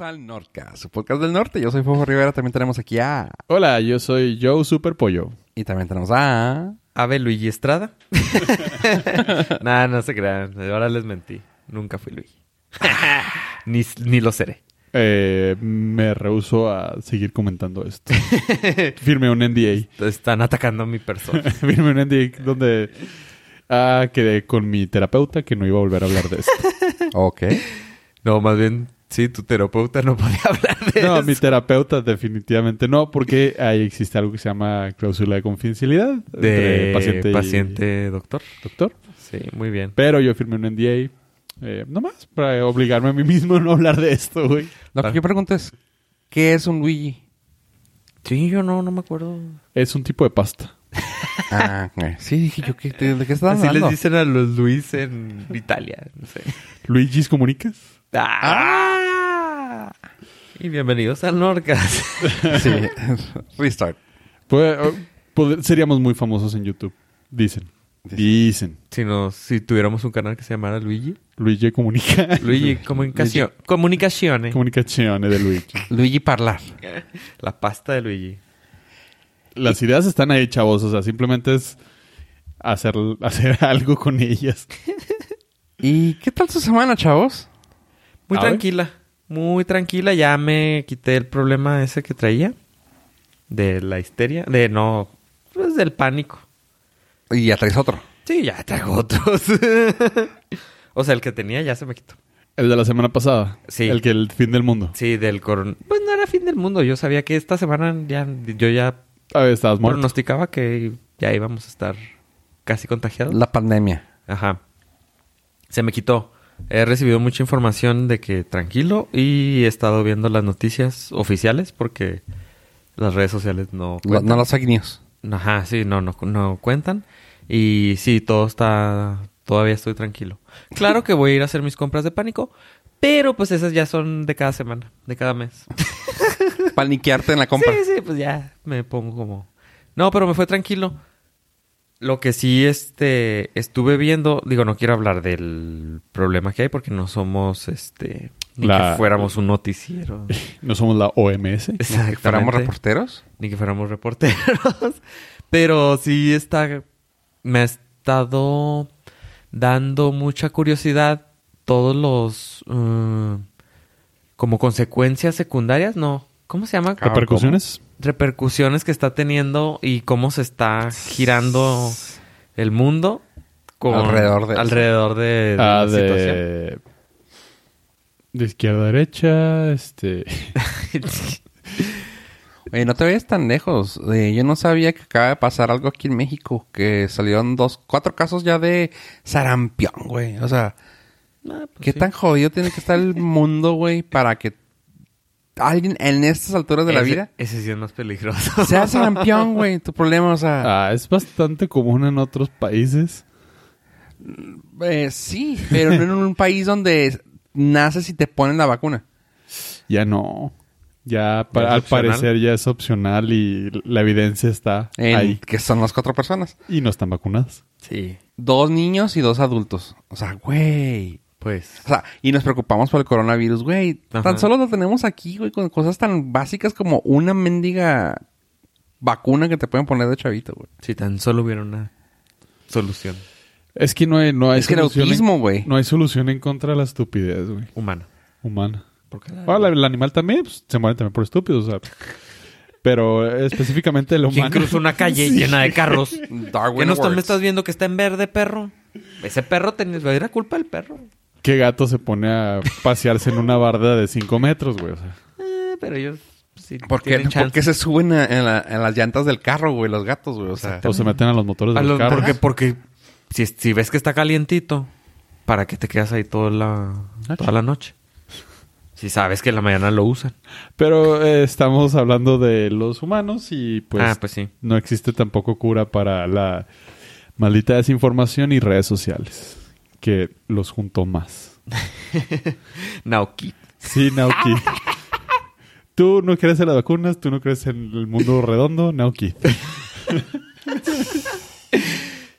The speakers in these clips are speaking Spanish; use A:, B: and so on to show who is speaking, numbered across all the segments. A: al Nordcast, su podcast del norte. Yo soy Fofo Rivera, también tenemos aquí a...
B: Hola, yo soy Joe Superpollo.
A: Y también tenemos a...
C: Ave Luigi Estrada. Nada, no se crean. Ahora les mentí. Nunca fui Luigi. ni, ni lo seré.
B: Eh, me rehuso a seguir comentando esto. Firme un NDA.
C: Están atacando a mi persona.
B: Firme un NDA donde ah, quedé con mi terapeuta que no iba a volver a hablar de esto.
A: Ok.
C: No, más bien, sí, tu terapeuta no podía hablar de
B: No,
C: eso.
B: mi terapeuta definitivamente no, porque ahí existe algo que se llama cláusula de confidencialidad
C: De
B: entre paciente,
C: paciente,
B: y
C: doctor.
B: doctor.
C: Sí, muy bien.
B: Pero yo firmé un NDA eh, nomás para obligarme a mí mismo a no hablar de esto, güey.
A: Lo que yo pregunto es, ¿qué es un Luigi?
C: Sí, yo no, no me acuerdo.
B: Es un tipo de pasta.
A: Ah, ok. sí, dije yo, ¿qué- ¿de qué estás
C: Así
A: hablando?
C: les dicen a los Luis en Italia. No sé.
B: Luigi's Comunicas.
C: ¡Ah! Y bienvenidos al Norcas.
A: Sí, restart.
B: Pues, eh, poder- seríamos muy famosos en YouTube, dicen. Dicen.
C: si, nos, si tuviéramos un canal que se llamara Luigi.
B: Luigi comunica.
C: Luigi Comunicación. Comunicaciones.
B: Comunicaciones de Luigi.
A: Luigi Parlar.
C: La pasta de Luigi.
B: Las ideas están ahí, chavos. O sea, simplemente es hacer, hacer algo con ellas.
A: ¿Y qué tal su semana, chavos?
C: Muy
B: A ver.
C: tranquila. Muy tranquila. Ya me quité el problema ese que traía. De la histeria. De no. Pues del pánico.
A: Y ya traes otro.
C: Sí, ya traigo otros. o sea, el que tenía ya se me quitó.
B: El de la semana pasada.
C: Sí.
B: El que el fin del mundo.
C: Sí, del coron. Pues no era fin del mundo. Yo sabía que esta semana ya. Yo ya
B: A ver, Ah, estabas muerto.
C: pronosticaba que ya íbamos a estar casi contagiados.
A: La pandemia.
C: Ajá. Se me quitó. He recibido mucha información de que tranquilo y he estado viendo las noticias oficiales porque las redes sociales no
A: Lo-
C: cuentan.
A: no las fake news.
C: Ajá, sí, no, no, no cuentan. Y sí, todo está... Todavía estoy tranquilo. Claro que voy a ir a hacer mis compras de pánico, pero pues esas ya son de cada semana, de cada mes.
A: Paniquearte en la compra.
C: Sí, sí, pues ya me pongo como. No, pero me fue tranquilo. Lo que sí este estuve viendo, digo, no quiero hablar del problema que hay porque no somos este ni
B: La-
C: que fuéramos un noticiero.
B: No somos la OMS.
A: ¿No?
C: Exactamente.
A: ¿Fuéramos reporteros?
C: Ni que fuéramos reporteros. Pero sí está me ha estado dando mucha curiosidad todos los mm, como consecuencias secundarias, no. ¿Cómo se llama?
A: Ah,
B: ¿Repercusiones?
C: repercusiones que está teniendo y cómo se está girando el mundo con-
A: Alrededor de-
C: alrededor de, de
B: Ah,
C: la situación.
B: de... De izquierda a derecha, este...
A: Oye, no te vayas tan lejos. Eh, yo no sabía que acaba de pasar algo aquí en México. Que salieron dos, cuatro casos ya de sarampión, güey. O sea,
C: Ah, pues
A: ¿qué
C: sí.
A: tan jodido tiene que estar el mundo, güey, para que alguien en estas alturas de la
C: Ese-
A: vida
C: Ese sí es más peligroso.
A: sea sarampión, güey? Tu problema, o sea,
B: Ah, es bastante común en otros países.
A: eh, sí, pero no en un país donde naces y te ponen la vacuna.
B: Ya no. Ya, pa-
C: ¿Ya es
B: al
C: opcional?
B: parecer ya es opcional y la evidencia está
A: En-
B: ahí.
A: que son las cuatro personas.
B: Y no están vacunadas.
C: Sí,
A: Dos niños y dos adultos. O sea, güey.
C: pues.
A: O sea, y nos preocupamos por el coronavirus, güey. Tan
C: Ajá.
A: solo lo tenemos aquí, güey, con cosas tan básicas como una mendiga vacuna que te pueden poner de chavito, güey.
C: Si tan solo hubiera una solución
B: Es que no hay, no hay
A: Es que el
B: en-
A: autismo, güey.
B: no hay solución en contra de la estupidez, güey.
C: humana.
B: Humana.
C: Porque
B: Ahora, el animal también pues, se muere también por estúpidos, o sea. Pero eh, específicamente el
C: ¿Quién
B: humano.
C: cruzó una calle llena de carros?
A: Darwin
C: ¿Qué no está- me
A: Awards.
C: estás viendo que está en verde, perro? Ese perro tenía... Era culpa del perro.
B: ¿Qué gato se pone a pasearse en una barda de 5 metros, güey? O sea,
C: Eh, pero ellos... sí
A: ¿Por qué,
C: tienen
A: por
C: chance.
A: qué se suben a- en, la- en las llantas del carro, güey, los gatos, güey? O sea,
B: o se meten a los motores
C: A
B: de
C: los-
B: los carros.
C: porque porque si, si ves que está calientito, ¿para qué te quedas ahí toda la, toda la noche? Si sabes que en la mañana lo usan.
B: Pero eh, estamos hablando de los humanos y pues,
C: ah, pues sí.
B: no existe tampoco cura para la maldita desinformación y redes sociales. Que los juntó más.
C: Naoki.
B: Sí, Nauki. tú no crees en las vacunas, tú no crees en el mundo redondo, Nauki.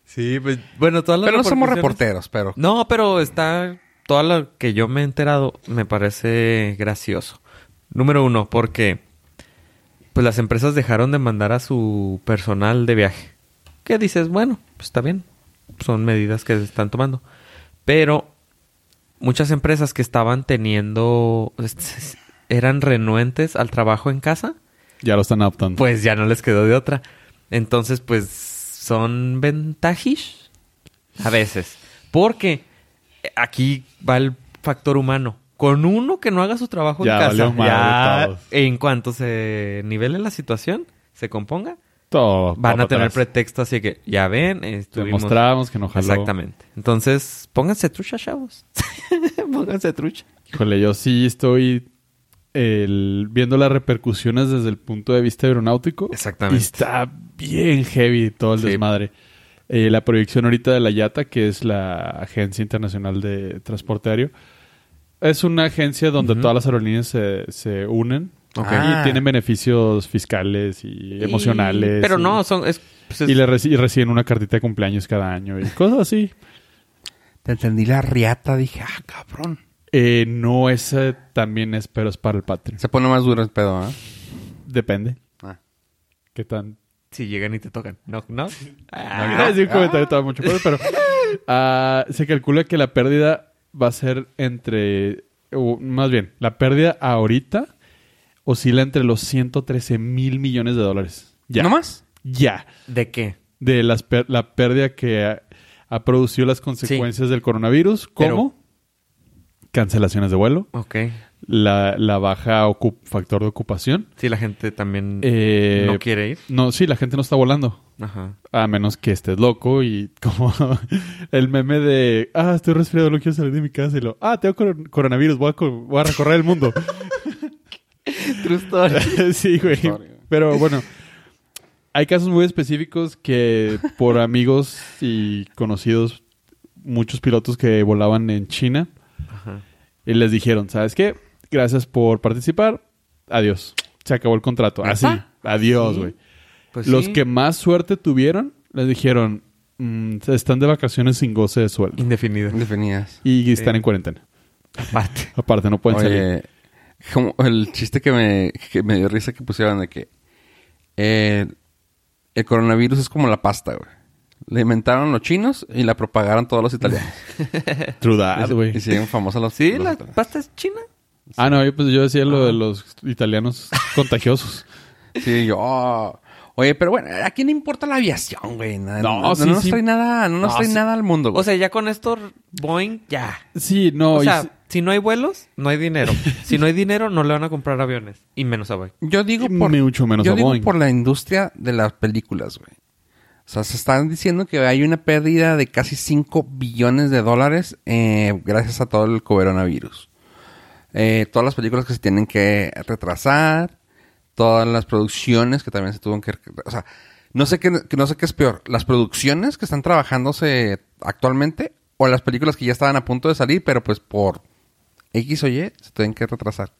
C: Sí, pues bueno, todas las
A: pero no somos
C: repercusiones-
A: reporteros, pero...
C: No, pero está... Toda lo que yo me he enterado me parece gracioso. Número uno, porque pues las empresas dejaron de mandar a su personal de viaje. Que dices, bueno, pues está bien. Son medidas que se están tomando. Pero muchas empresas que estaban teniendo... eran renuentes al trabajo en casa,
B: Ya lo están adaptando.
C: pues ya no les quedó de otra. Entonces, pues son ventajish a veces. Porque aquí va el factor humano. Con uno que no haga su trabajo
B: Ya
C: en casa,
B: valió madre
C: ya
B: todos.
C: en cuanto se nivele la situación, se componga,
B: Todo va
C: van a
B: para
C: tener
B: atrás.
C: pretexto. Así que ya ven, estuvimos...
B: Demostramos que no jaló.
C: Exactamente. Entonces, pónganse trucha, chavos. pónganse trucha.
B: Híjole, yo sí estoy el- viendo las repercusiones desde el punto de vista aeronáutico. Y
C: Exactamente.
B: está bien heavy todo el
C: Sí.
B: desmadre. Eh, la proyección ahorita de la IATA, que es la Agencia Internacional de Transporte Aéreo, es una agencia donde
C: Ujú.
B: todas las aerolíneas se, se unen
A: Ok.
C: Ah.
B: y tienen beneficios fiscales y emocionales.
C: Pero
B: y-
C: no, son... es- pues es-
B: Y, le reci- y reciben una cartita de cumpleaños cada año y cosas así.
A: Te entendí la riata, dije, ah, cabrón.
B: Eh, no, ese también es, pero es para el Patreon.
A: Se pone más duro el pedo, ¿eh?
B: Depende.
A: Ah.
B: ¿Qué tan
C: Si llegan y te tocan. No, no.
B: No, iba a decir un comentario estaba mucho peor, pero ah, se calcula que la pérdida va a ser entre, o más bien, la pérdida ahorita oscila entre los 113 mil millones de dólares. Ya.
A: ¿No más?
B: Ya.
C: ¿De qué?
B: De las per- la pérdida que ha, ha producido las consecuencias del coronavirus, como cancelaciones de vuelo,
C: Ok.
B: la, la baja ocu- factor de ocupación.
C: Si la gente también
B: eh,
C: no quiere ir.
B: no, sí, la gente no está volando.
C: Ajá.
B: A menos que estés loco y como el meme de, ah, estoy resfriado, no quiero salir de mi casa y lo, ah, tengo coron- coronavirus, voy a, co- voy a recorrer el mundo.
C: True story.
B: sí, güey. Pero bueno, hay casos muy específicos que por amigos y conocidos, muchos pilotos que volaban en China,
C: Ajá.
B: y les dijeron, ¿sabes qué? Gracias por participar, adiós. Se acabó el contrato. Así,
C: ¿Neta?
B: adiós,
C: Sí.
B: güey.
C: Pues
B: Los
C: sí.
B: que más suerte tuvieron, les dijeron, "Mm, están de vacaciones sin goce de sueldo.
C: Indefinido.
A: Indefinidas.
B: Y están en cuarentena.
C: Aparte.
B: Aparte, no pueden salir.
A: Oye, como el chiste que me, que me dio risa que pusieron de que eh, el coronavirus es como la pasta, güey. La inventaron los chinos y la propagaron todos los italianos.
B: True that, güey.
A: y siguen famosas las
C: Sí,
A: los
C: la
A: italianos.
C: pasta es china.
B: Ah, no, yo, pues, yo decía lo de los italianos contagiosos.
A: Sí, yo. oh. Oye, pero bueno, ¿a quién le importa la aviación, güey? No,
B: No,
A: no, no
B: sí,
A: nos
B: sí.
A: trae nada, no nos
B: No,
A: trae
B: sí.
A: nada al mundo, güey.
C: O sea, ya con esto, Boeing, ya.
B: Sí, no.
C: o
B: y
C: sea,
B: si-
C: si no hay vuelos, no hay dinero. si no hay dinero, no le van a comprar aviones. Y menos a Boeing.
A: yo digo
B: y
A: por,
B: mucho menos
A: yo
B: a
A: digo
B: Boeing.
A: por la industria de las películas, güey. O sea, se están diciendo que hay una pérdida de casi 5 billones de dólares eh, gracias a todo el coronavirus. Eh, todas las películas que se tienen que retrasar, todas las producciones que también se tuvieron que... O sea, no sé qué, que no sé qué es peor, las producciones que están trabajándose actualmente o las películas que ya estaban a punto de salir, pero pues por X o Y se tienen que retrasar.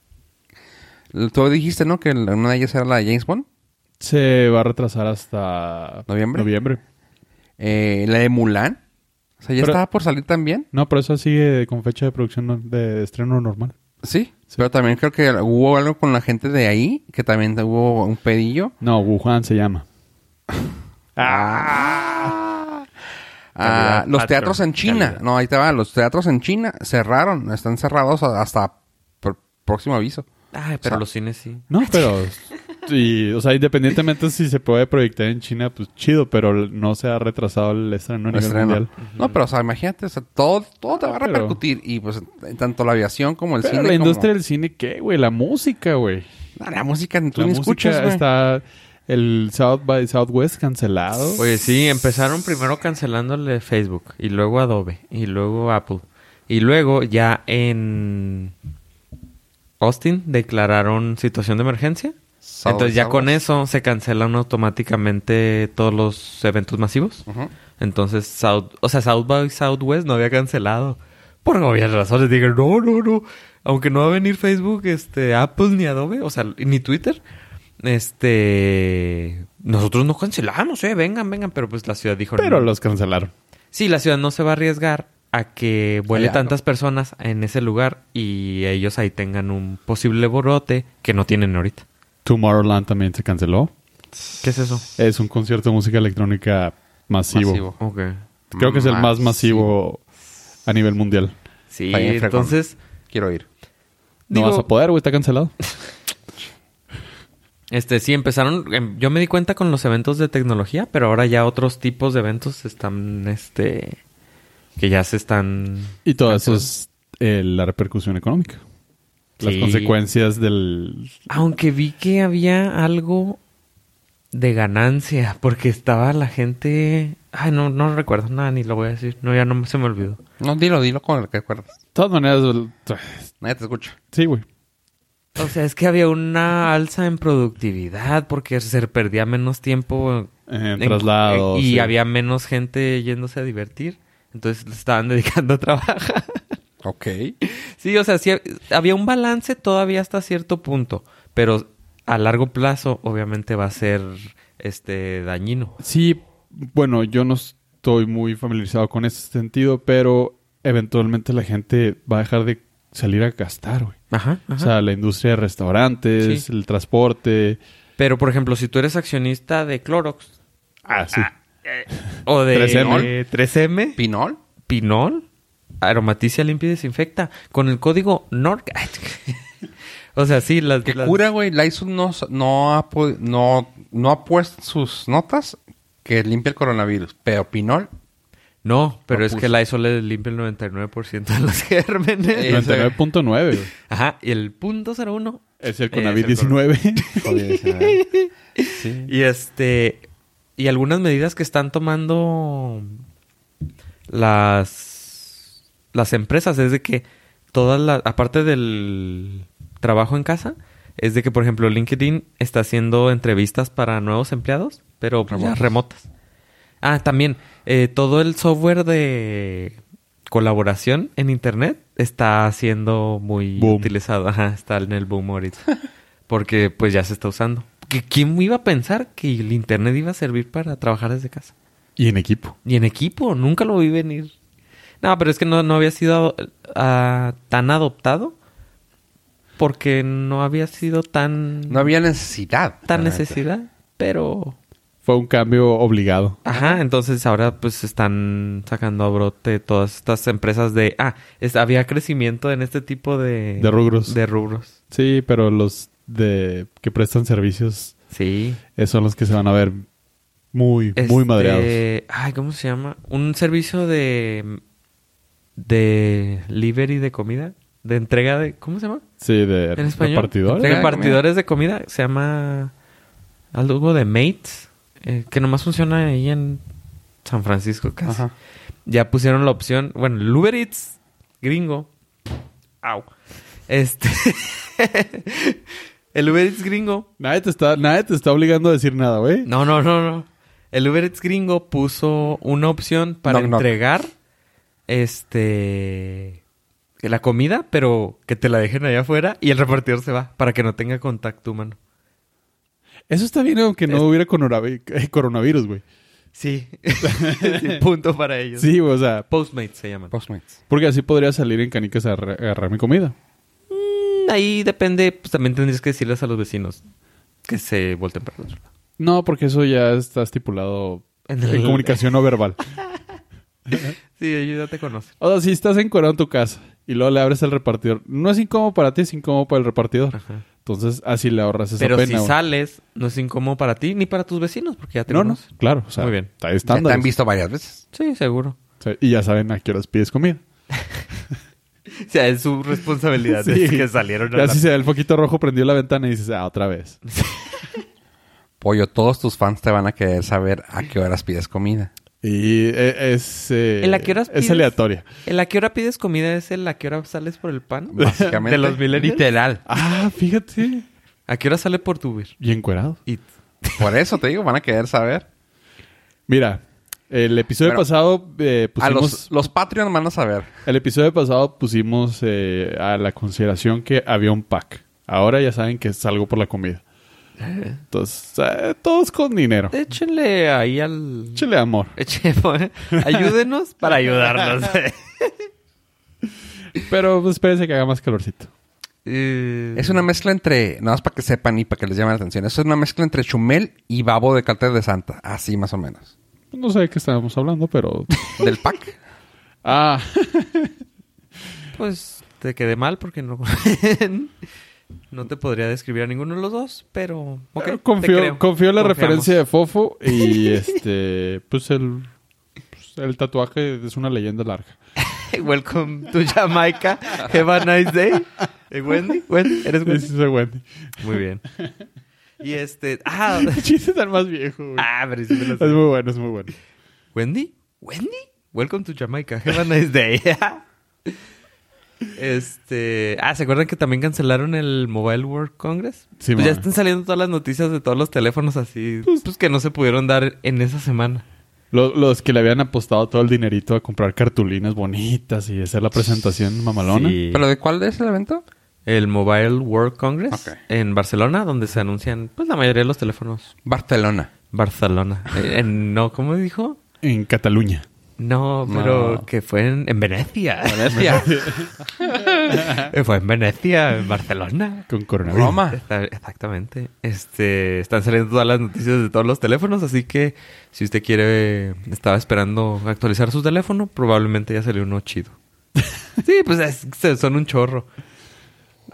A: Tú dijiste, ¿no? Que la- una de ellas era la de James Bond.
B: Se va a retrasar hasta...
A: ¿Noviembre?
B: Noviembre.
A: Eh, la de Mulan. O sea, ya
B: Pero-
A: estaba por salir también.
B: No, pero eso sigue con fecha de producción no- de estreno normal.
A: Sí. Pero también creo que hubo algo con la gente de ahí, que también hubo un pedillo.
B: No, Wuhan se llama.
A: Ah, los
C: Calidad,
A: teatros en
C: patrón,
A: China.
C: calidad.
A: No, ahí te va. Los teatros en China cerraron. Están cerrados a- hasta por próximo aviso.
C: Ay, pero
A: O sea,
C: los cines sí.
B: No, pero... Y, o sea, independientemente si se puede proyectar en China, pues chido, pero no se ha retrasado el estreno a nivel
A: Estreno.
B: mundial.
A: No, pero o sea, imagínate, o sea, todo, todo te va a
B: Ah, pero-
A: repercutir. Y pues tanto la aviación como el
B: Pero
A: cine.
B: la
A: como-
B: industria del cine, ¿qué, güey? La música, güey.
A: Ah, la música tú
B: La
A: ni
B: música
A: escuchas, güey.
B: está el South by Southwest cancelado.
C: Oye, sí, empezaron primero cancelándole Facebook y luego Adobe y luego Apple. Y luego ya en Austin declararon situación de emergencia.
A: Sábado,
C: Entonces ya
A: sábado.
C: con eso se cancelan automáticamente todos los eventos masivos.
A: Ujú.
C: Entonces, South, o sea, South by Southwest no había cancelado. Por obvias razones, digan, no, no, no. Aunque no va a venir Facebook, este, Apple ni Adobe, o sea, ni Twitter. Este, nosotros no cancelamos, eh, vengan, vengan, pero pues la ciudad dijo,
B: pero
C: no.
B: los cancelaron.
C: sí, la ciudad no se va a arriesgar a que vuele
A: Allá,
C: tantas personas en ese lugar y ellos ahí tengan un posible brote que no tienen ahorita.
B: Tomorrowland también se canceló.
C: ¿Qué es eso?
B: Es un concierto de música electrónica masivo.
A: Masivo.
C: Ok.
B: Creo que es el
A: Mm, ah,
B: más masivo a nivel mundial.
C: Sí,
A: Está bien fregón.
C: entonces
A: Quiero ir.
B: No
C: Digo-
B: vas a poder, güey, está cancelado.
C: Este, sí, empezaron. em, Yo me di cuenta con los eventos de tecnología, pero ahora ya otros tipos de eventos están, este. que ya se están.
B: Y todo eso es eh, la repercusión económica. Las
C: Sí.
B: consecuencias del...
C: Aunque vi que había algo de ganancia, porque estaba la gente. Ay, no, no recuerdo nada, ni lo voy a decir. No, ya no se me olvidó.
A: No, dilo, dilo con el que acuerdas.
B: De todas maneras... el-
A: Nadie te escucha.
B: Sí, güey.
C: O sea, es que había una alza en productividad, porque se perdía menos tiempo
B: En eh, traslados,
C: eh,
B: eh,
C: Y
B: sí.
C: había menos gente yéndose a divertir. Entonces le estaban dedicando a trabajar.
A: Ok.
C: Sí, o sea, sí, había un balance todavía hasta cierto punto, pero a largo plazo obviamente va a ser este dañino.
B: Sí, bueno, yo no estoy muy familiarizado con ese sentido, pero eventualmente la gente va a dejar de salir a gastar, güey.
C: Ajá,
B: O sea, la industria de restaurantes,
C: Sí.
B: el transporte.
C: pero por ejemplo, si tú eres accionista de Clorox
B: Ah, sí.
C: o de
B: 3M.
C: 3M,
A: ¿Pinol?
C: Pinol, aromaticia limpia y desinfecta con el código NORC. o sea, sí, las
A: Que
C: las-
A: cura, güey. Lysol no, no, ha pod- no, no ha puesto en sus notas que limpia el coronavirus. Pero Pinol,
C: No, pero
A: No
C: es
A: puso.
C: que el Lysol le limpia el 99% de los gérmenes.
A: Eh.
B: 99.9, güey.
C: Ajá, y el punto 01
B: Es el
C: Es el
B: COVID-19.
C: Y este. Y algunas medidas que están tomando las. las empresas. Es de que todas las. aparte del trabajo en casa. Es de que, por ejemplo, LinkedIn está haciendo entrevistas para nuevos empleados, pero pues, ya
A: Remotas.
C: remotas. Ah, también, eh, todo el software de colaboración en Internet está siendo muy
B: Boom.
C: utilizado. Ajá, está en el boom ahorita. Porque pues ya se está usando. ¿Que- ¿Quién iba a pensar que el Internet iba a servir para trabajar desde casa?
B: y en equipo.
C: Y en equipo, nunca lo vi venir. No, pero es que no, no había sido ah, tan adoptado porque no había sido tan,
A: no había Ah, necesidad.
C: tan
A: la neta.
C: necesidad. Pero
B: Fue un cambio obligado.
C: Ajá, entonces ahora pues están sacando a brote todas estas empresas de... Ah, es- había crecimiento en este tipo de...
B: De rubros.
C: De rubros.
B: Sí, pero los de que prestan servicios
C: Sí.
B: eh, son los que se van a ver muy, muy
C: Este,
B: madreados.
C: Ay, ¿cómo se llama? Un servicio de... De delivery de comida. De entrega de... ¿Cómo se llama?
B: Sí, de
C: En español.
B: repartidores.
A: Entrega de
C: Repartidores de comida. Se llama... Algo de Mates. eh, que nomás funciona ahí en San Francisco casi.
A: Ajá.
C: ya pusieron la opción, bueno, el Uber Eats gringo. Au. Este el Uber Eats gringo.
B: Nadie te, está, nadie te está obligando a decir nada, güey.
C: No, no, no, no. El Uber Eats gringo puso una opción para
A: Knock, knock.
C: entregar este la comida, pero que te la dejen allá afuera y el repartidor se va para que no tenga contacto humano.
B: Eso está bien aunque no
C: Es-
B: hubiera coronavi- eh, coronavirus, güey.
C: Sí. Sí, Punto para ellos.
B: Sí, o sea,
C: Postmates se llaman.
A: Postmates.
B: porque así podría salir en canicas a re- agarrar mi comida.
C: Mm, Ahí depende, pues también tendrías que decirles a los vecinos que se volten para el otro lado.
B: No, porque eso ya está estipulado
C: En
B: en,
C: el-
B: comunicación no verbal.
C: Sí, ellos ya te conocen.
B: O sea, si estás encuerado en tu casa y luego le abres al repartidor, no es incómodo para ti, es incómodo para el repartidor.
C: Ajá.
B: Entonces, así le ahorras esa
C: Ah. Pero
B: pena.
C: si
B: güey.
C: sales, no es incómodo para ti ni para tus vecinos, porque ya te
B: No, no,
C: conocen.
B: claro. O sea,
C: Muy bien.
B: Está
A: Ya te
B: estándar.
A: han visto varias veces.
C: Sí, seguro.
B: O sea, y ya saben a qué horas pides comida.
C: O sea, es su responsabilidad
B: Sí.
C: es que salieron a
B: Ya
C: la-
B: si se ve el foquito rojo, prendió la ventana y dices, ah, otra vez.
A: Pollo, todos tus fans te van a querer saber a qué horas pides comida.
B: Y eh, es... eh,
C: ¿En la que horas pides?
B: Es aleatoria.
C: ¿El a qué hora pides comida es el a qué hora sales por el pan?
A: Básicamente.
C: De los millennials.
A: Literal.
B: Ah, fíjate.
C: ¿A qué hora sale por tu Uber?
B: Y encuerado.
C: Y-
A: Por eso te digo, van a querer saber.
B: Mira, el episodio
A: Pero-
B: pasado eh, pusimos...
A: A los, los Patreon van a saber.
B: El episodio pasado pusimos eh, a la consideración que había un pack. Ahora ya saben que salgo por la comida. Entonces, eh, todos con dinero.
C: Échenle ahí al...
B: Échale amor.
C: Échenle- Ayúdenos para eh. ayudarnos.
B: Pero pues, espérense que haga más calorcito.
C: Eh,
A: Es una mezcla entre, nada más para que sepan y para que les llame la atención, es una mezcla entre Chumel y Babo de Cartel de Santa, así más o menos.
B: No sé de qué estábamos hablando, pero...
A: Del pack.
B: Ah,
C: Pues te quedé mal porque no... no te podría describir a ninguno de los dos, pero... ok, te
B: confío,
C: creo.
B: confío en la
C: Confiamos.
B: referencia de Fofo y este... Pues el... pues, el tatuaje es una leyenda larga.
C: Welcome to Jamaica. Have a nice day. Eh, Wendy, Wendy, ¿eres
B: Ese
C: Wendy?
B: es el Wendy.
C: Muy bien. Y este... Ah,
B: El chiste es el más viejo, güey.
C: ah pero sí me lo
B: Es
C: sé.
B: muy bueno, es muy bueno.
C: ¿Wendy? ¿Wendy? Welcome to Jamaica. Have a nice day. este. Ah, ¿se acuerdan que también cancelaron el Mobile World Congress?
B: Sí,
C: pues ya
B: man.
C: están saliendo todas las noticias de todos los teléfonos así. Pues, que no se pudieron dar en esa semana.
B: Lo- los que le habían apostado todo el dinerito a comprar cartulinas bonitas y hacer la presentación mamalona.
C: Sí.
A: ¿Pero de cuál es el evento?
C: El Mobile World Congress
A: Ok.
C: en Barcelona, donde se anuncian pues la mayoría de los teléfonos.
A: Barcelona.
C: Barcelona. Eh, en- no, ¿cómo dijo?
B: En Cataluña.
C: No, pero
A: No.
C: que fue en, en Venecia.
A: Venecia.
C: Eh, fue en Venecia, en Barcelona.
B: Con coronavirus.
A: Roma.
C: Está- exactamente. Este, están saliendo todas las noticias de todos los teléfonos, así que si usted quiere, estaba esperando actualizar su teléfono, probablemente ya salió uno chido. sí, pues es- se- son un chorro.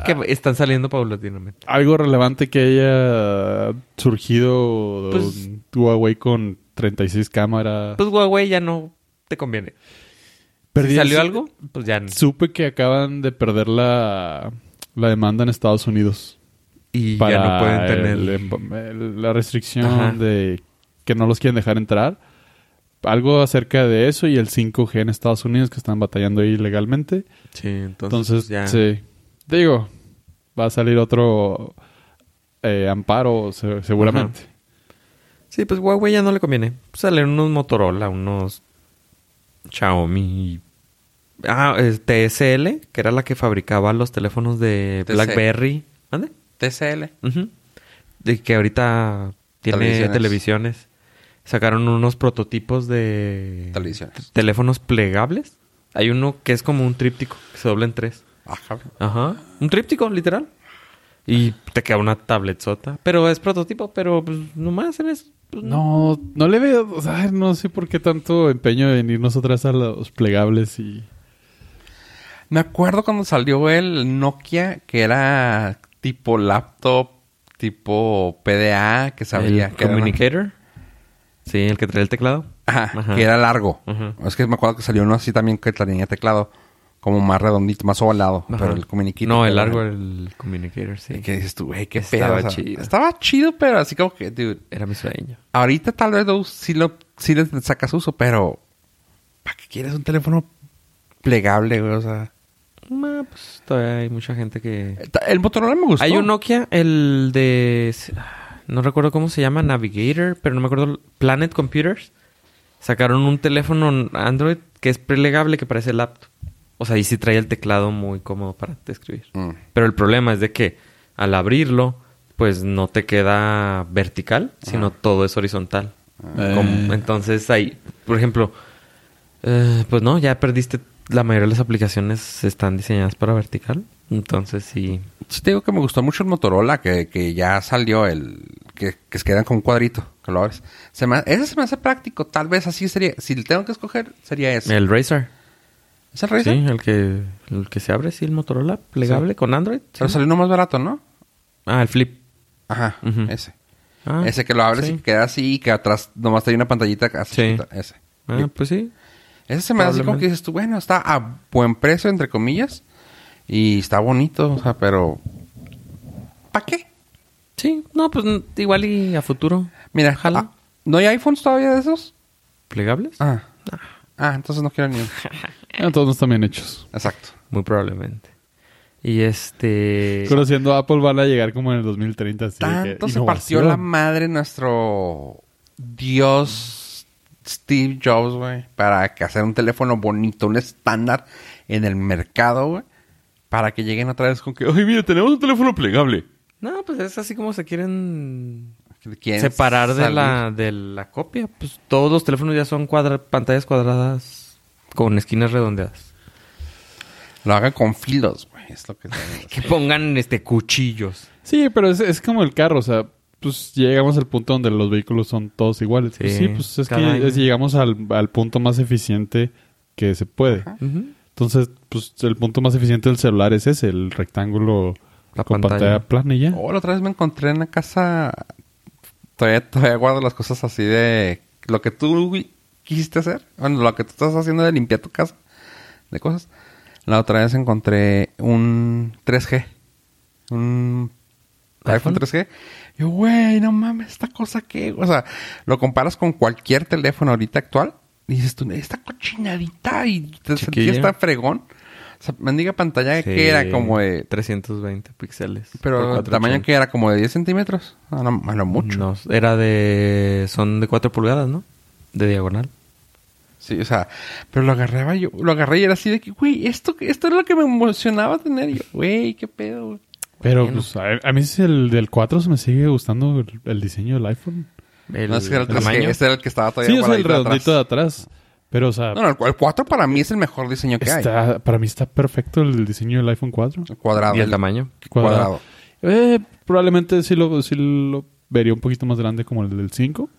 C: Que
B: Ah.
C: están saliendo paulatinamente.
B: Algo relevante que haya surgido
C: Pues-
B: un Huawei con 36 cámaras.
C: Pues Huawei ya no te conviene.
B: Perdí
C: si
B: el-
C: salió algo, pues ya no.
B: Supe que acaban de perder la, la demanda en Estados Unidos.
C: Y
B: Para
C: ya no pueden
B: el-
C: tener.
B: el- la restricción
C: Ajá.
B: de que no los quieren dejar entrar. Algo acerca de eso y el 5G en Estados Unidos que están batallando ahí legalmente.
C: Sí, entonces, pues,
B: Entonces,
C: ya.
B: sí. Te digo, va a salir otro eh, amparo se- seguramente.
C: Sí, pues Huawei ya no le conviene. Pues Salen unos Motorola, unos Xiaomi. Ah, es TSL, que era la que fabricaba los teléfonos de
A: TC.
C: BlackBerry. ¿Mande?
A: TCL.
C: Ujú. De que ahorita tiene
A: Televisiones.
C: televisiones. Sacaron unos prototipos de
A: Televisiones.
C: teléfonos plegables. Hay uno que es como un tríptico, que se dobla en tres. Ajá. Un tríptico, literal. Y te queda una tabletzota. Pero es prototipo, pero pues nomás en eso. pues,
B: No, no le veo, o sea, no sé por qué tanto empeño en irnos atrás a los plegables y...
A: Me acuerdo cuando salió el Nokia, que era tipo laptop, tipo PDA, que sabía.
C: ¿El
A: que era una-
C: communicator? Sí, el que trae el teclado.
A: Ajá,
C: Ajá.
A: que era largo.
C: Ujú.
A: Es que me acuerdo que salió uno así también que tenía teclado, como más redondito, más ovalado,
C: Ajá.
A: pero el comuniquito.
C: No, el
A: era-
C: largo, el communicator, sí.
A: Y que dices tú, güey, qué
C: Estaba
A: pedo, o sea,
C: chido.
A: Estaba chido, pero así como que, dude,
C: Era mi sueño.
A: ahorita tal vez lo- sí, lo, sí le sacas uso, pero ¿para qué quieres un teléfono plegable, güey? O sea,
C: Ma, pues todavía hay mucha gente que...
A: ta- el Motorola me gustó.
C: Hay un Nokia, el de... No recuerdo cómo se llama, Navigator, pero no me acuerdo. Planet Computers. Sacaron un teléfono Android que es prelegable, que parece laptop. O sea, ahí sí trae el teclado muy cómodo para te escribir.
A: Mm.
C: Pero el problema es de que al abrirlo, pues no te queda vertical, sino todo es horizontal.
A: Eh.
B: Ah.
C: Como- entonces ahí, por ejemplo, eh, pues no, ya perdiste. La mayoría de las aplicaciones están diseñadas para vertical. Entonces sí.
A: Sí te digo que me gustó mucho el Motorola, que, que ya salió el... Que, que se quedan con un cuadrito, que lo abres. Se me, ese se me hace práctico. Tal vez así sería... Si tengo que escoger, sería ese.
C: El Razer.
A: ¿Es el Razer?
C: Sí, el que, el que se abre, sí, el Motorola plegable con Android. sí.
A: Pero salió uno más barato, ¿no?
C: Ah, el Flip.
A: Ajá,
C: Ujú.
A: ese.
C: Ah,
A: ese que lo abres
C: sí.
A: y queda así y que atrás nomás te hay una pantallita así.
C: Sí.
A: chiquita, Ese.
C: Ah, pues sí.
A: Ese se me hace como que
C: Probablemente.
A: dices tú, bueno, está a buen precio, entre comillas. Y está bonito, o sea, pero... ¿Para qué?
C: Sí, no, pues n- igual y a futuro.
A: Mira,
C: Jala.
A: ah, ¿no hay iPhones todavía de esos?
C: ¿Plegables?
A: Ah. Ah, entonces no quiero ni uno.
B: Ah, todos no están bien hechos.
A: Exacto.
C: Muy probablemente. Y este.
B: Conociendo a Apple van a llegar como en el 2030. Así de que,
A: Tanto se partió
B: innovación.
A: la madre nuestro Dios Steve Jobs, güey, para que hacer un teléfono bonito, un estándar en el mercado, güey, para que lleguen otra vez con que,
B: Ay, mira, tenemos un teléfono plegable.
C: No, pues es así como se quieren
A: Que quieren
C: separar de
A: salir.
C: la, de la copia. Pues todos los teléfonos ya son cuadra- pantallas cuadradas con esquinas redondeadas.
A: Lo hagan con filos, güey. Es lo que...
C: Que pongan este cuchillos.
B: Sí, pero es, es como el carro, o sea, pues llegamos al punto donde los vehículos son todos iguales. Pues Sí,
C: Sí,
B: pues es que
C: cada año.
B: es- llegamos al, al punto más eficiente que se puede.
C: Ujú.
B: Entonces, pues el punto más eficiente del celular es ese, el rectángulo
C: La
B: con pantalla.
C: pantalla.
B: plana y ya.
A: Oh, la otra vez me encontré en la casa... Todavía, todavía guardo las cosas así de... Lo que tú güey, quisiste hacer. Bueno, lo que tú estás haciendo de limpiar tu casa. De cosas. La otra vez encontré un 3G. Un... iPhone
C: ¿iPhone?
A: 3G. Yo, güey, no mames, esta cosa que... O sea, lo comparas con cualquier teléfono ahorita actual. Y dices tú, esta cochinadita. Y te
C: Chiquilla.
A: sentías tan fregón. O sea, mendiga pantalla que era como de...
C: 320 píxeles.
A: Pero
C: por
A: el tamaño
C: 480.
A: que era como de 10 centímetros. Ah, A lo, a lo mucho.
C: No, era de... Son de 4 pulgadas, ¿no? De diagonal.
A: Sí, o sea, pero lo agarraba yo. Lo agarré y era así de que, güey, esto, esto es lo que me emocionaba tener. Y yo, güey, qué pedo, güey.
B: Pero
C: Bueno.
B: pues, a, a mí es el del 4 se me sigue gustando el, el diseño del iPhone.
C: El
A: No, es que era el 3G,
C: tamaño.
A: Este era el que estaba todavía
B: Sí, es el
A: guardadito
B: redondito de
A: atrás.
B: atrás. Pero, o sea,
A: No, no, el cu- el 4 para mí es el mejor diseño que hay.
B: está, para mí está perfecto el diseño del iPhone 4.
A: El cuadrado.
C: Y el tamaño.
A: cuadrado.
B: Eh, probablemente sí lo, sí lo vería un poquito más grande como el del 5.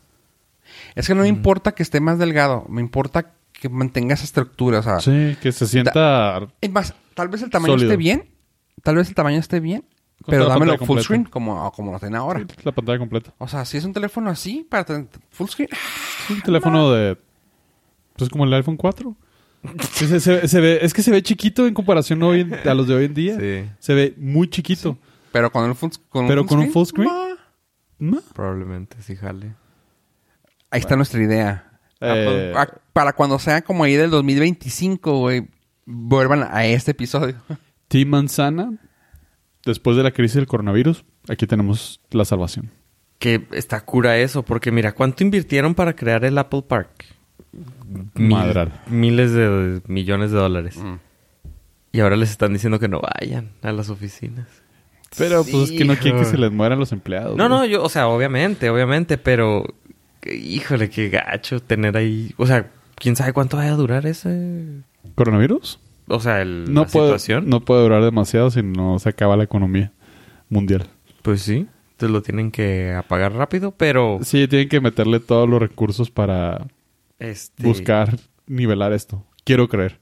A: Es que no me importa que esté más delgado. Me importa que mantenga esa estructura. O sea,
C: Ah.
B: Sí, que se sienta...
A: es más, tal vez el tamaño
B: Sólido.
A: esté bien. Tal vez el tamaño esté bien.
B: Con
A: Pero
B: toda la
A: dámelo full
B: pantalla completa.
A: screen como, como lo tienen ahora.
B: La pantalla completa.
A: O sea, si es un teléfono así para tener full screen,
B: Es un teléfono de... Pues como el iPhone 4. Sí, se- se- se ve- es que se ve chiquito en comparación hoy en- a los de hoy en día.
C: Sí.
B: Se ve muy chiquito.
A: Pero con, el full, con
B: Pero con un full screen.
A: ma.
B: Ma.
C: Probablemente, sí, jale.
A: Ahí está nuestra idea.
B: Eh.
A: Ah, pa- Para cuando sea como ahí del 2025, güey, vuelvan a este episodio.
B: Team Manzana, después de la crisis del coronavirus, aquí tenemos la salvación.
C: Que está cura eso, porque mira, ¿cuánto invirtieron para crear el Apple Park? Mil-
B: Madral.
C: miles de millones de dólares. Y ahora les están diciendo que no vayan a las oficinas.
B: Pero pues es que no quieren que
C: Hijo.
B: se les mueran los empleados.
C: No,
B: güey.
C: no, yo, o sea, obviamente, obviamente, pero que- híjole, qué gacho tener ahí. O sea, quién sabe cuánto vaya a durar ese.
B: ¿Coronavirus?
C: O sea, el,
B: No
C: la
B: puede,
C: situación.
B: no puede durar demasiado si no se acaba la economía mundial.
C: Pues sí, entonces lo tienen que apagar rápido, pero.
B: Sí, tienen que meterle todos los recursos para
C: Este,
B: buscar nivelar esto. Quiero creer.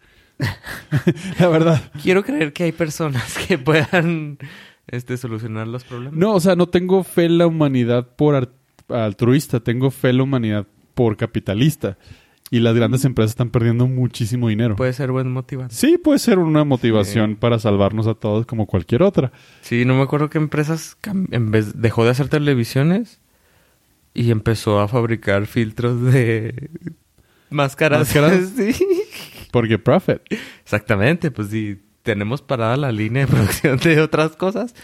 B: la verdad.
C: Quiero creer que hay personas que puedan este, solucionar los problemas.
B: No, o sea, no tengo fe en la humanidad por ar- altruista, tengo fe en la humanidad por capitalista. Y las grandes empresas están perdiendo muchísimo dinero.
C: Puede ser buen motivante.
B: Sí, puede ser una motivación para salvarnos a todos como cualquier otra.
C: Sí, no me acuerdo que empresas cam- en vez dejó de hacer televisiones y empezó a fabricar filtros de máscaras.
B: ¿Máscaras?
C: Sí.
B: Porque profit.
C: Exactamente, pues si tenemos parada la línea de producción de otras cosas,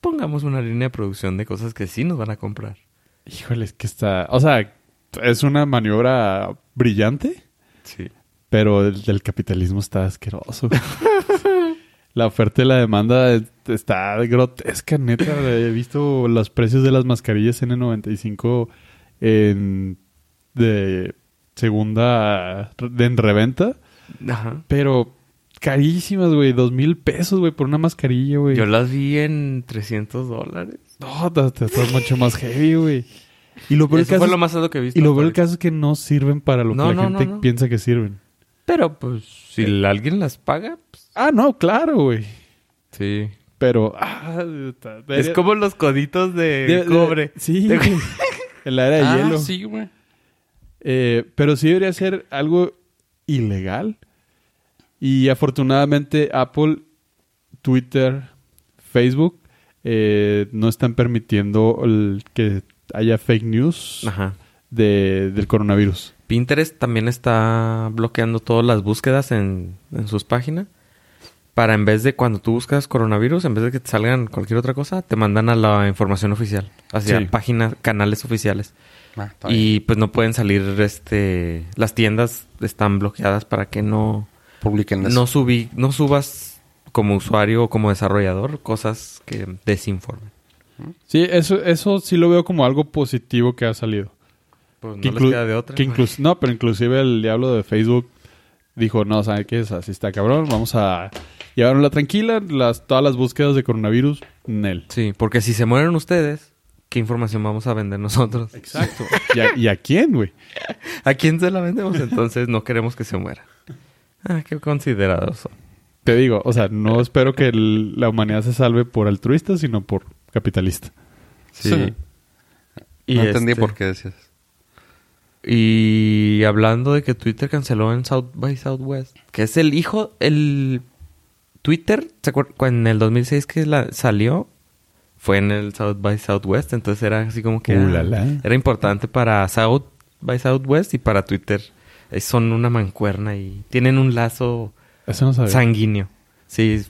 C: pongamos una línea de producción de cosas que sí nos van a comprar.
B: Híjole, es que está... O sea, es una maniobra brillante,
C: Sí.
B: pero el, el capitalismo está asqueroso. la oferta y la demanda es- está grotesca, neta. He visto los precios de las mascarillas N95 en... de segunda... de en reventa.
C: Ajá.
B: Pero carísimas, güey. Dos mil pesos, güey, por una mascarilla, güey.
C: Yo las vi en 300 dólares.
B: No, te, te estás mucho más heavy, güey. Y lo peor
C: Eso
B: del caso,
C: fue
B: es-
C: lo más alto que he visto.
B: y lo
C: hasta
B: peor del
C: ahorita.
B: caso es que no sirven para lo
C: No,
B: que la
C: no,
B: gente
C: no, no.
B: piensa que sirven.
C: Pero pues si alguien las paga, pues
B: Ah, no, claro, güey.
C: sí.
B: Pero... ah, está-
C: Es
B: debería-
C: como los coditos de,
B: de- de-
C: cobre. Ah,
B: Sí,
C: De-
B: güey. En la era de hielo.
A: Ah, sí, güey.
B: Eh, pero sí debería ser algo ilegal. Y afortunadamente Apple, Twitter, Facebook eh, no están permitiendo el que haya fake news
C: Ajá.
B: de- del coronavirus.
C: Pinterest también está bloqueando todas las búsquedas en, en sus páginas. Para en vez de cuando tú buscas coronavirus, en vez de que te salgan cualquier otra cosa, te mandan a la información oficial. Hacia
B: Sí.
C: páginas, canales oficiales.
A: Ah, está bien.
C: Y pues no pueden salir, este... Las tiendas están bloqueadas para que no...
A: publiquen eso.
C: No, subí, no subas como usuario o como desarrollador cosas que desinformen.
B: Sí, eso, eso sí lo veo como algo positivo que ha salido.
C: Pues no
B: que
C: les
B: inclu-
C: queda de otra.
B: que inclus- no, pero inclusive el diablo de Facebook dijo, no, ¿saben qué es? Así está cabrón, vamos a llevárnosla tranquila, las, todas las búsquedas de coronavirus, Nel.
C: Sí, porque si se mueren ustedes, ¿qué información vamos a vender nosotros?
B: Exacto. ¿Y a, y a quién, güey?
C: ¿A quién se la vendemos? Entonces no queremos que se muera. Ah, qué considerados son.
B: Te digo, o sea, no espero que el- la humanidad se salve por altruista, sino por capitalista.
C: Sí.
A: Sí.
C: Y
A: no entendí
C: este-
A: por qué decías.
C: Y hablando de que Twitter canceló en South by Southwest, que es el hijo, el Twitter, ¿se acuer- cu- En el 2006 que la salió, fue en el South by Southwest, entonces era así como que... ah,
B: Ulala.
C: Era importante para South by Southwest y para Twitter. Eh, Son una mancuerna y tienen un lazo
B: Eso no sabía.
C: sanguíneo. Sí,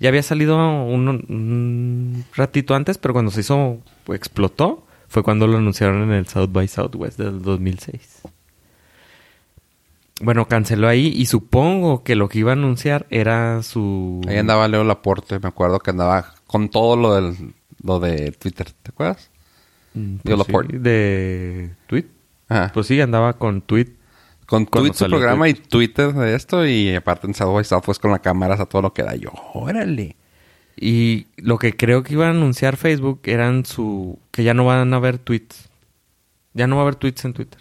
C: ya había salido un, un ratito antes, pero cuando se hizo, explotó, fue cuando lo anunciaron en el South by Southwest del 2006. Bueno, canceló ahí y supongo que lo que iba a anunciar era su...
A: Ahí andaba Leo Laporte, me acuerdo que andaba con todo lo del lo de Twitter, ¿te acuerdas?
C: Mm,
A: Yo
C: pues
A: lo
C: sí,
A: por-
C: de tweet.
A: Ajá.
C: Pues sí, andaba con tweet.
A: con
C: cuando
A: tweet su
C: salió
A: programa y Twitter de esto y aparte en South by Southwest con la cámara a todo lo que da yo. Órale.
C: Y lo que creo que iba a anunciar Facebook eran su... que ya no van a haber tweets. Ya no va a haber tweets en Twitter.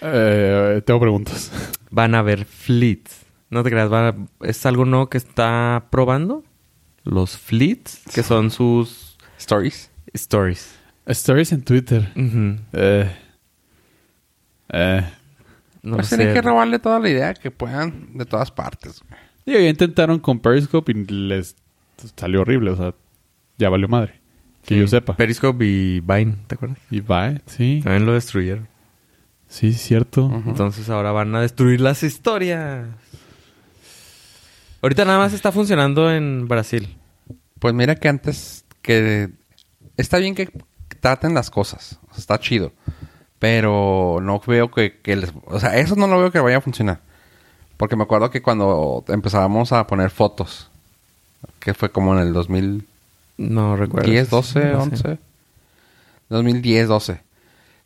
B: Eh, tengo preguntas.
C: van a haber fleets. No te creas, van a- es algo nuevo que está probando. Los fleets, que son sus
A: Stories.
C: stories.
B: Stories en Twitter.
C: Ujú.
B: Eh. Eh.
C: No
A: pues
C: sé.
A: tienen que robarle toda la idea que puedan de todas partes. güey.
B: Digo, ya intentaron con Periscope y les salió horrible, o sea, ya valió madre. Que
C: Sí.
B: yo sepa.
C: Periscope y Vine, ¿te acuerdas?
B: y va, ¿eh? sí.
C: También lo destruyeron.
B: Sí, cierto.
C: Entonces ahora van a destruir las historias. Ahorita nada más está funcionando en Brasil.
A: Pues mira que antes que está bien que traten las cosas, o sea, está chido, pero no veo que, que les, o sea, eso no lo veo que vaya a funcionar. Porque me acuerdo que cuando empezábamos a poner fotos, que fue como en el 2000
C: No recuerdo.
A: 10, 12,
C: No sé.
A: 11. 2010, 12.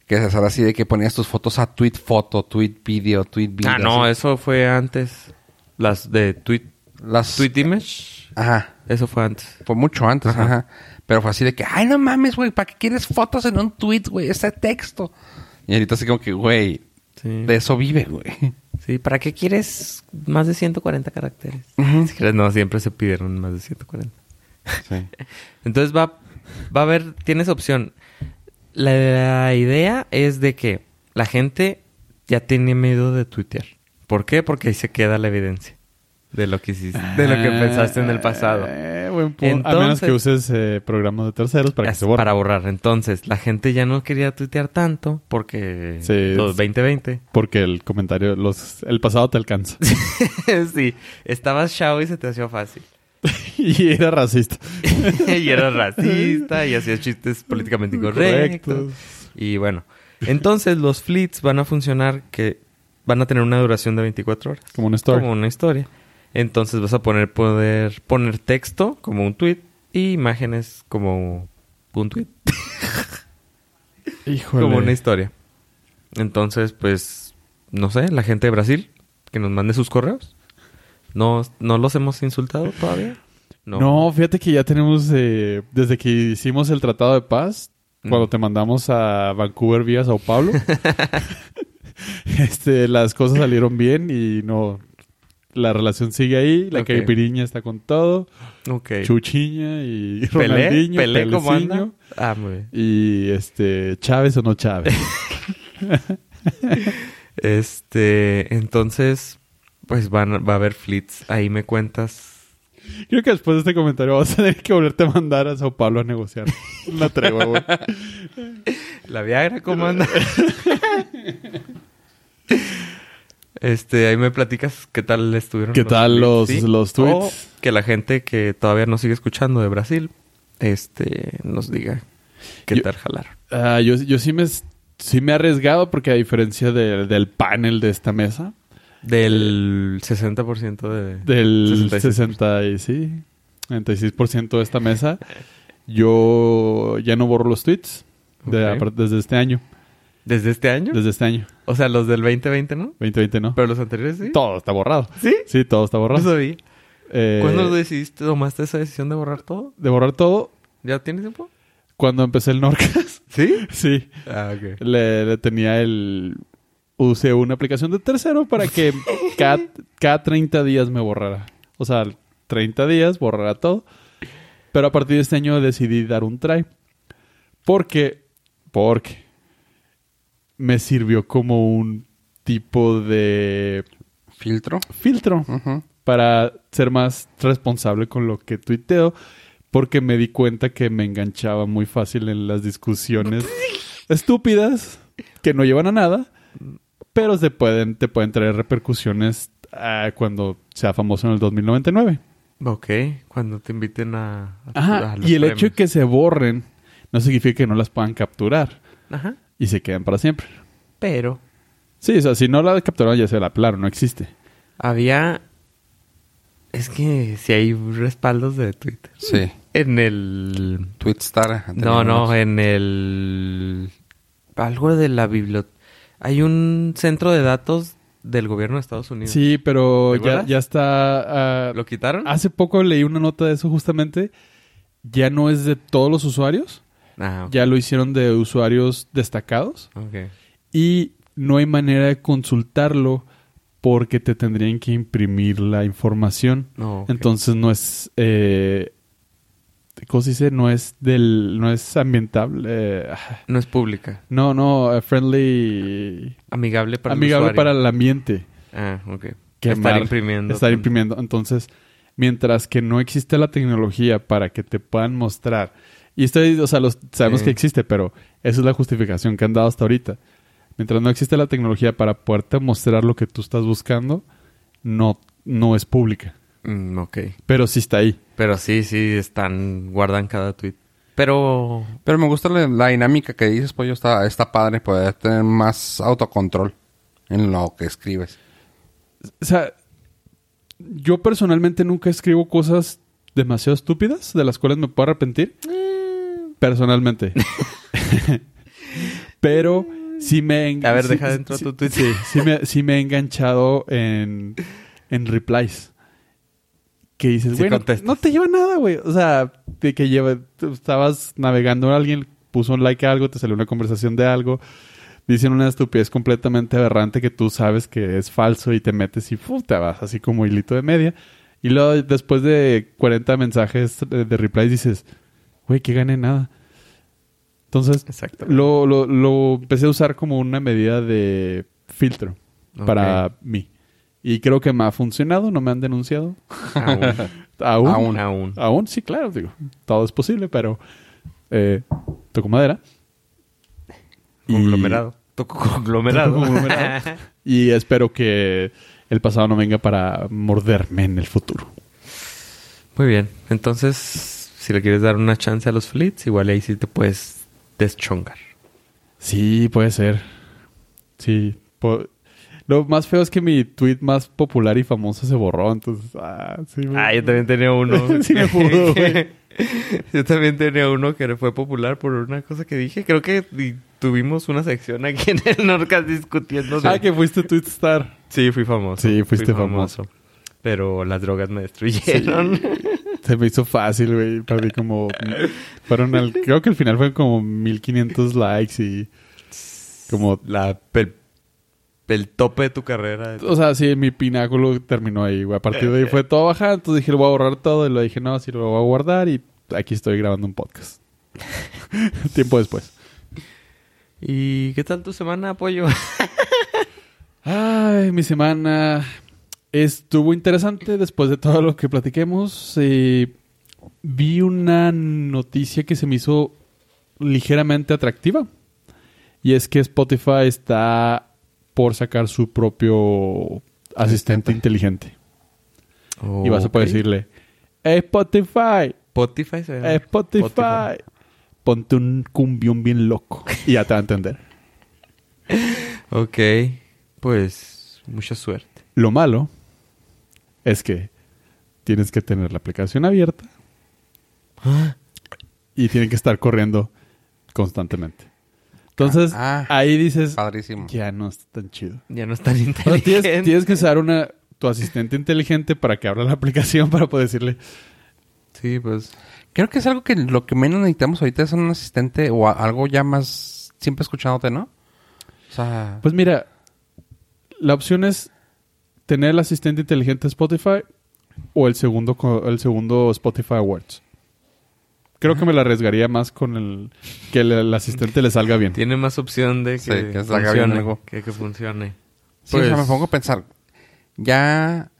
A: Que se sale así de que ponías tus fotos a tweet foto, tweet video, tweet video.
C: Ah, no,
A: así.
C: eso fue antes. Las de tweet,
A: Las...
C: tweet Image.
A: Ajá.
C: Eso fue antes.
A: Fue mucho antes, ajá. Pero fue así de que, ay, no mames, güey, ¿para qué quieres fotos en un tweet, güey? Ese texto. Y ahorita así como que, güey,
C: Sí.
A: de eso vive, güey.
C: Sí, ¿para qué quieres más de 140 caracteres? Si quieres, No, siempre se pidieron más de 140.
A: Sí.
C: Entonces va, va a haber, tienes opción. La, la idea es de que la gente ya tiene miedo de tuitear. ¿Por qué? Porque ahí se queda la evidencia de lo que hiciste, de lo que
B: Ah.
C: pensaste en el pasado.
B: Eh, buen punto. a menos
C: Entonces-
B: que uses eh, programas de terceros para que
C: Es
B: se borre.
C: Para borrar. Entonces, la gente ya no quería tuitear tanto porque
B: Sí,
C: los
B: es-
C: 2020.
B: Porque el comentario, los, el pasado te alcanza.
C: sí, estabas chavo y se te hacía fácil.
B: y era racista.
C: y era racista y hacía chistes políticamente incorrectos. Y bueno, entonces los fleets van a funcionar que van a tener una duración de 24 horas.
B: Como una story.
C: Como una historia. Entonces vas a poner poder poner texto como un tweet y imágenes como un tweet,
B: Híjole.
C: como una historia. Entonces, pues no sé, la gente de Brasil que nos mande sus correos. No no los hemos insultado todavía.
B: no. fíjate que ya tenemos, eh, desde que hicimos el Tratado de Paz,
C: Mm.
B: cuando te mandamos a Vancouver vía Sao Paulo, este, las cosas salieron bien y no... La relación sigue ahí, la
C: Ok.
B: caipiriña está con todo,
C: Ok.
B: Chuchiña y
C: Pelé,
B: Ronaldinho,
C: Pelé como
B: Peleciño.
C: anda. Ah, muy bien.
B: Y este, Chávez o no Chávez.
C: Este, entonces, pues van, a- va a haber flits. Ahí me cuentas.
B: Creo que después de este comentario vas a tener que volverte a mandar a Sao Paulo a negociar. Una tregua, güey.
C: La Viagra, ¿cómo anda? este, ahí me platicas qué tal estuvieron.
B: ¿Qué tal los-
C: flits,
B: los
C: O
B: tweets?
C: que la gente que todavía nos sigue escuchando de Brasil, este, nos diga qué
B: Yo-
C: tal jalar.
B: Ah, yo, yo sí me sí me he arriesgado porque a diferencia de- del panel de esta mesa,
C: Del 60% de...
B: del
C: 66%.
B: 60 y sí, 96% de esta mesa, yo ya no borro los tweets de-
C: Ok.
B: apart- desde este año.
C: ¿Desde este año?
B: Desde este año.
C: O sea, los del 2020, ¿no?
B: 2020 no.
C: Pero los anteriores sí.
B: Todo está borrado.
C: ¿Sí?
B: Sí, todo está
C: No
B: borrado.
C: sabía.
B: Eh,
C: ¿Cuándo lo decidiste? ¿Tomaste esa decisión de borrar todo?
B: de borrar todo
C: ¿Ya tienes tiempo?
B: cuando empecé el Norcas.
C: ¿Sí?
B: sí.
C: Ah, ok.
B: Le, le tenía el... Usé una aplicación de tercero para que cada, cada 30 días me borrara. O sea, 30 días borrara todo. Pero a partir de este año decidí dar un try. Porque... Porque... Me sirvió como un tipo de
A: Filtro.
B: filtro
A: Ujú.
B: para ser más responsable con lo que tuiteo, porque me di cuenta que me enganchaba muy fácil en las discusiones estúpidas que no llevan a nada, pero se pueden, te pueden traer repercusiones ah, cuando sea famoso en el 2099.
C: Ok, cuando te inviten a... a-
B: Ajá,
C: a los
B: y el
C: premios.
B: hecho de que se borren no significa que no las puedan capturar
C: Ajá,
B: y se quedan para siempre.
C: pero
B: Sí, o sea, si no la capturaron ya se la pelaron, no existe.
C: había... Es que si hay respaldos de Twitter.
A: Sí.
C: En el...
A: Tweetstar.
C: No,
A: anterior.
C: no, en el... Algo de la biblioteca. Hay un centro de datos del gobierno de Estados Unidos.
B: Sí, pero ya,
C: ¿Te acuerdas?
B: ya está... ah,
C: ¿Lo quitaron?
B: Hace poco leí una nota de eso justamente. Ya no es de todos los usuarios.
C: Ah, ok.
B: Ya lo hicieron de usuarios destacados.
C: Ok.
B: Y no hay manera de consultarlo porque te tendrían que imprimir la información.
C: No, ok.
B: Entonces no es... Eh, ¿Cómo se dice? No es del... No es ambientable. eh, ah,
C: No es pública.
B: no, no. eh, friendly...
C: Amigable para
B: amigable
C: el usuario.
B: para el ambiente.
C: Ah, ok.
B: que
C: estar
B: mar-
C: imprimiendo.
B: Estar imprimiendo. Entonces, mientras que no existe la tecnología para que te puedan mostrar. Y estoy, o sea, los, sabemos
C: Sí.
B: que existe, pero esa es la justificación que han dado hasta ahorita. Mientras no existe la tecnología para poderte mostrar lo que tú estás buscando, no, no es pública.
C: Mm, ok.
B: Pero sí está ahí.
C: Pero sí, sí, están, guardan cada tweet. Pero,
A: Pero me gusta la, la dinámica que dices, pues yo está, está padre poder tener más autocontrol en lo que escribes.
B: O sea, yo personalmente nunca escribo cosas demasiado estúpidas de las cuales me puedo arrepentir. Personalmente. Pero sí me... he en-
C: a ver,
B: sí-
C: deja dentro
B: sí-
C: tu tweet.
B: Sí, sí me, sí me he enganchado en, en replies. Que dices,
C: Sí
B: güey, no-
C: contestas.
B: no, te lleva nada, güey. O sea, de que lleva... tú Estabas navegando a alguien, puso un like a algo, te salió una conversación de algo. Dicen una estupidez completamente aberrante que tú sabes que es falso y te metes y ¡fu! te vas así como hilito de media. Y luego después de 40 mensajes de, de replies dices, güey, que gané nada. Entonces,
C: Exacto.
B: lo, lo, lo empecé a usar como una medida de filtro
C: Ok.
B: para mí. Y creo que me ha funcionado, no me han denunciado.
C: Aún.
B: Aún.
A: Aún.
B: Aún,
C: Aún.
B: sí, claro, digo. Todo es posible, pero eh, toco madera. Y-
C: Conglomerado. Toco conglomerado.
B: Toco conglomerado. Y espero que el pasado no venga para morderme en el futuro.
C: Muy bien. Entonces, si le quieres dar una chance a los flits, igual ahí sí te puedes deschongar.
B: Sí, puede ser. Sí. po- Lo más feo es que mi tweet más popular y famoso se borró, entonces... Ah, sí, me-
C: Ah, yo también tenía uno.
B: Sí me pudo, güey.
C: yo también tenía uno que fue popular por una cosa que dije. Creo que di- tuvimos una sección aquí en el Norcas discutiendo. de-
B: Ah, que fuiste Twitstar.
C: Sí, fui famoso.
B: Sí, fuiste
C: Fui
B: famoso.
C: Pero las drogas me destruyeron.
B: Se me hizo fácil, güey. Perdí como... Fueron al... Creo que al final fueron como 1500 likes y... Como...
C: La, el, el tope de tu carrera.
B: O sea, sí, mi pináculo terminó ahí, güey. A partir de ahí fue todo bajando. Entonces dije, lo voy a borrar todo. Y lo dije, no, sí, lo voy a guardar. Y aquí estoy grabando un podcast. Tiempo después.
C: ¿Y qué tal tu semana, apoyo?
B: Ay, mi semana estuvo interesante después de todo lo que platiquemos. eh, vi una noticia que se me hizo ligeramente atractiva. Y es que Spotify está por sacar su propio asistente inteligente. Y vas a poder decirle, Spotify,
C: Spotify se
B: Eh.
C: llama.
B: Spotify, ponte un cumbión bien loco. Y ya te va a entender.
C: Ok. Pues, mucha suerte.
B: Lo malo es que tienes que tener la aplicación abierta y tienen que estar corriendo constantemente. Entonces,
A: Ah, ah.
B: ahí dices,
A: Padrísimo.
B: ya no está tan chido.
C: Ya no es tan
B: O sea,
C: inteligente.
B: tienes, tienes que usar una tu asistente inteligente para que abra la aplicación para poder decirle,
C: Sí, pues.
A: Creo que es algo que lo que menos necesitamos ahorita es un asistente o a- algo ya más siempre escuchándote, ¿no? O sea,
B: pues mira, la opción es tener el asistente inteligente Spotify o el segundo co- el segundo Spotify Awards. Creo que me la arriesgaría más con el que el, el asistente le salga bien.
C: Tiene más opción de que,
A: Sí, que salga bien
C: funcione.
A: algo.
C: Que, que funcione.
A: sí, o sea,
C: pues-
A: me pongo a pensar. Ya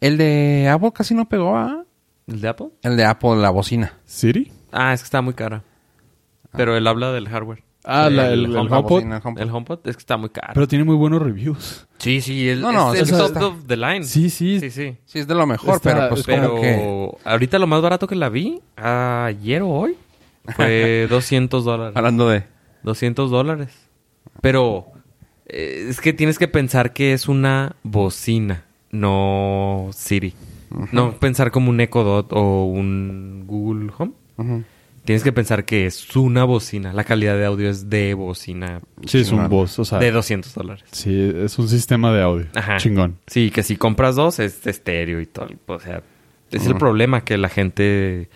A: el de Apple casi no pegó ¿ah? a
C: ¿El de Apple?
A: el de Apple la bocina.
B: ¿Siri?
C: Ah, es que está muy cara. Pero él habla del hardware.
B: Ah,
A: Sí,
B: la- el, el
A: home- la
B: Ah. HomePod.
A: bocina, el HomePod.
C: El HomePod es que está muy caro.
B: Pero tiene muy buenos reviews.
C: sí, sí, él,
A: No, no,
C: es
A: o
C: el
A: sea,
C: top
A: está-
C: of the line.
B: Sí, sí.
C: sí. sí.
A: Sí, es de lo mejor,
B: Está-
A: pero pues
C: Pero
A: como que
C: ahorita lo más barato que la vi, ayer o hoy, fue 200 dólares.
A: hablando de
C: 200 dólares. Pero eh, es que tienes que pensar que es una bocina, no Siri. No pensar como un Echo Dot o un Google Home.
A: Ujú.
C: Tienes que pensar que es una bocina. La calidad de audio es de bocina
B: Sí, es un
A: Chingón.
B: voz, o sea.
C: de 200 dólares.
B: Sí, es un sistema de audio.
C: Ajá.
B: Chingón.
C: Sí, que si compras dos es estéreo y todo. O sea, es el problema que la gente...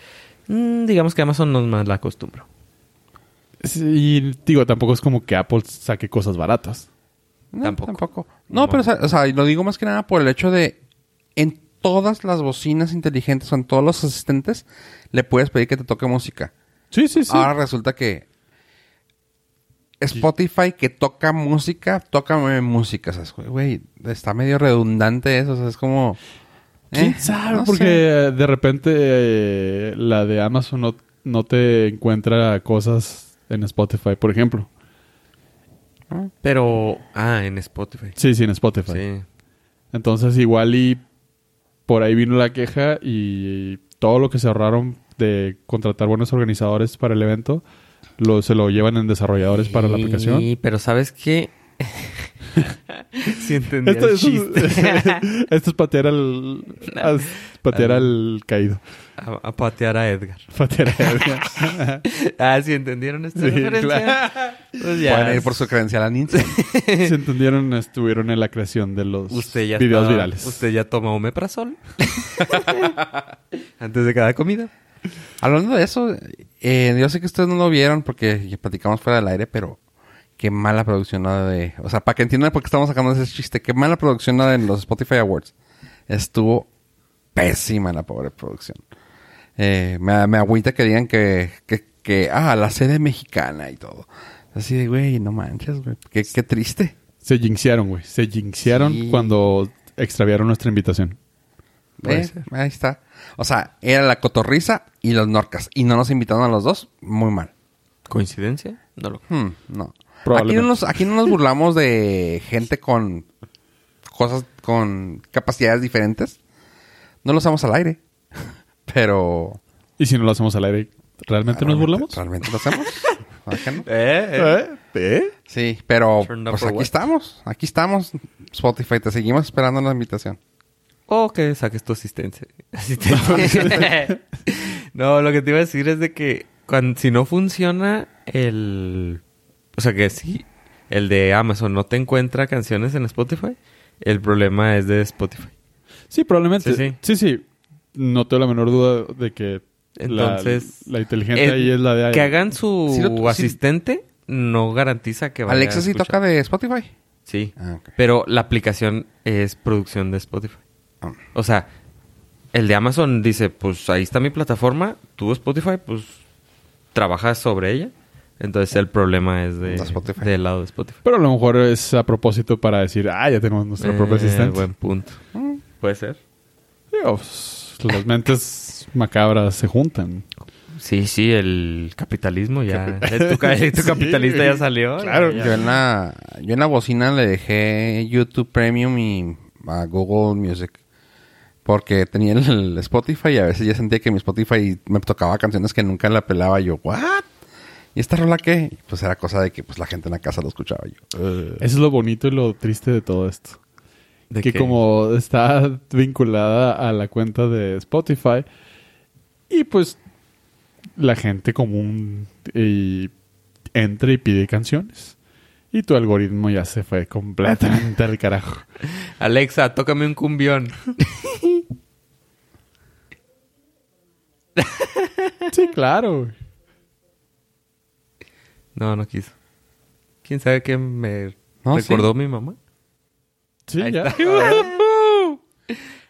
C: mm, digamos que Amazon nos más la acostumbra.
B: Sí, y digo, tampoco es como que Apple saque cosas baratas.
A: No,
C: Tampoco.
A: tampoco. No,
C: No.
A: pero o sea, o sea, y lo digo más que nada por el hecho de en todas las bocinas inteligentes o en todos los asistentes le puedes pedir que te toque música.
B: Sí, sí, sí.
A: Ahora resulta que Spotify que toca música, tócame música, ¿sabes? Güey, Güey, está medio redundante eso, o sea, es como...
B: ¿Quién
A: eh,
B: sabe?
A: no
B: Porque
A: sé.
B: eh, de repente eh, la de Amazon no, no te encuentra cosas en Spotify, por ejemplo.
C: Pero... Ah, en Spotify.
B: Sí, sí, en Spotify.
C: Sí.
B: Entonces igual y por ahí vino la queja y todo lo que se ahorraron de contratar buenos organizadores para el evento, lo, se lo llevan en desarrolladores para la aplicación.
C: Sí, pero ¿sabes qué? sí entendí
B: Esto,
C: el
B: esto es,
C: chiste.
B: esto es patear al as- patear al caído.
C: a, a patear a Edgar.
B: Patear al
C: Ah, ¿sí entendieron esta
B: Sí,
C: referencia? Pues ya.
A: Pueden ir por su credencial a Ninja.
B: Si entendieron, estuvieron en la creación de los
C: Usted ya
B: videos
C: estaba-
B: virales.
C: Usted ya toma omeprazol. Antes de cada comida.
A: Hablando de eso, eh, yo sé que ustedes no lo vieron porque ya platicamos fuera del aire, pero qué mala producción la de... O sea, para que entiendan por qué estamos sacando ese chiste, qué mala producción la de los Spotify Awards. Estuvo pésima la pobre producción. Eh, me, me agüita que digan que, que, que, ah, la sede mexicana y todo. Así de, güey, no manches, güey. Qué, qué triste.
B: Se jinxearon, güey. Se jinxearon
A: Sí.
B: cuando extraviaron nuestra invitación.
C: Puede
A: Eh,
C: ser.
A: ahí está. O sea, era la cotorriza y los norcas. Y no nos invitaron a los dos. Muy mal.
C: ¿Coincidencia? No lo
A: Hmm, no. Aquí
B: Probablemente.
A: no, nos, aquí no nos burlamos de gente con cosas, con capacidades diferentes. No lo usamos al aire. Pero.
B: Y si no lo hacemos al aire, ¿realmente
C: Ah,
B: nos burlamos?
A: ¿Realmente lo hacemos? ¿Verdad que no?
B: ¿Eh? ¿Eh?
A: Sí, pero
C: Turned up
A: pues
C: for
A: aquí
C: what?
A: estamos. Aquí estamos, Spotify. Te seguimos esperando la invitación.
C: O Oh, que saques tu asistencia. Asistente. no, lo que te iba a decir es de que cuan- si no funciona el... O sea que si el de Amazon no te encuentra canciones en Spotify, el problema es de Spotify.
B: Sí, probablemente.
C: Sí,
B: Sí, sí. No tengo la menor duda de que la-
C: Entonces,
B: la, inteligente
C: El-
B: ahí es la de
C: Que hagan su
A: Sí lo- sí.
C: asistente no garantiza que vaya
A: Alexa
C: a
A: sí
C: escuchar.
A: toca de Spotify.
C: Sí,
A: Ah, ok.
C: pero la aplicación es producción de Spotify.
A: Ah.
C: O sea, el de Amazon dice, pues ahí está mi plataforma, tú Spotify, pues trabajas sobre ella. Entonces el problema es de,
A: De Spotify.
C: del lado de Spotify.
B: Pero a lo mejor es a propósito para decir, ah, ya tenemos nuestra propia
C: Eh,
B: asistente.
C: Buen punto.
A: mm.
C: Puede ser.
B: Digo, pues, las mentes macabras se juntan.
C: Sí, sí, el capitalismo ya. Tu, ca- tu capitalista ya salió.
B: Claro.
C: ya-
A: Yo en, la, yo en la bocina le dejé YouTube Premium y a Google Music. Porque tenía el, el Spotify y a veces ya sentía que mi Spotify me tocaba canciones que nunca la pelaba. y Yo, ¿what? ¿Y esta rola qué? Y Pues era cosa de que pues la gente en la casa lo escuchaba. y Yo, "Eh,
B: Eso es lo bonito y lo triste de todo esto.
C: de
B: que,
C: que-
B: como está vinculada a la cuenta de Spotify y pues la gente común y entra y pide canciones. Y tu algoritmo ya se fue completamente al carajo.
C: Alexa, tócame un cumbión.
B: Sí, claro. güey.
C: No, no quiso. ¿Quién sabe qué me
A: No,
C: recordó mi mamá?
B: Sí,
C: Ahí
B: ya.
C: está.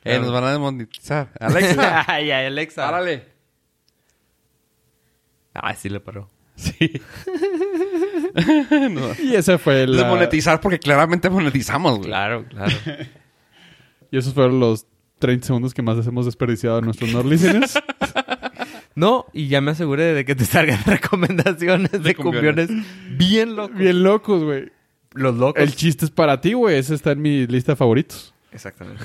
A: Eh, nos van a demonetizar. Alexa,
C: Ay, ay, Alexa.
A: árale.
C: Ah, sí le paró.
A: Sí. no.
B: Y ese fue la-
A: Demonetizar porque claramente monetizamos, güey.
C: Claro, claro.
B: Y esos fueron los 30 segundos que más hemos desperdiciado a nuestros not listeners.
C: No, y ya me aseguré de que te salgan recomendaciones de,
A: cumbiones.
C: cumbiones bien locos.
B: Bien locos, güey.
C: Los locos.
B: El chiste es para ti, güey. Ese está en mi lista de favoritos.
C: Exactamente.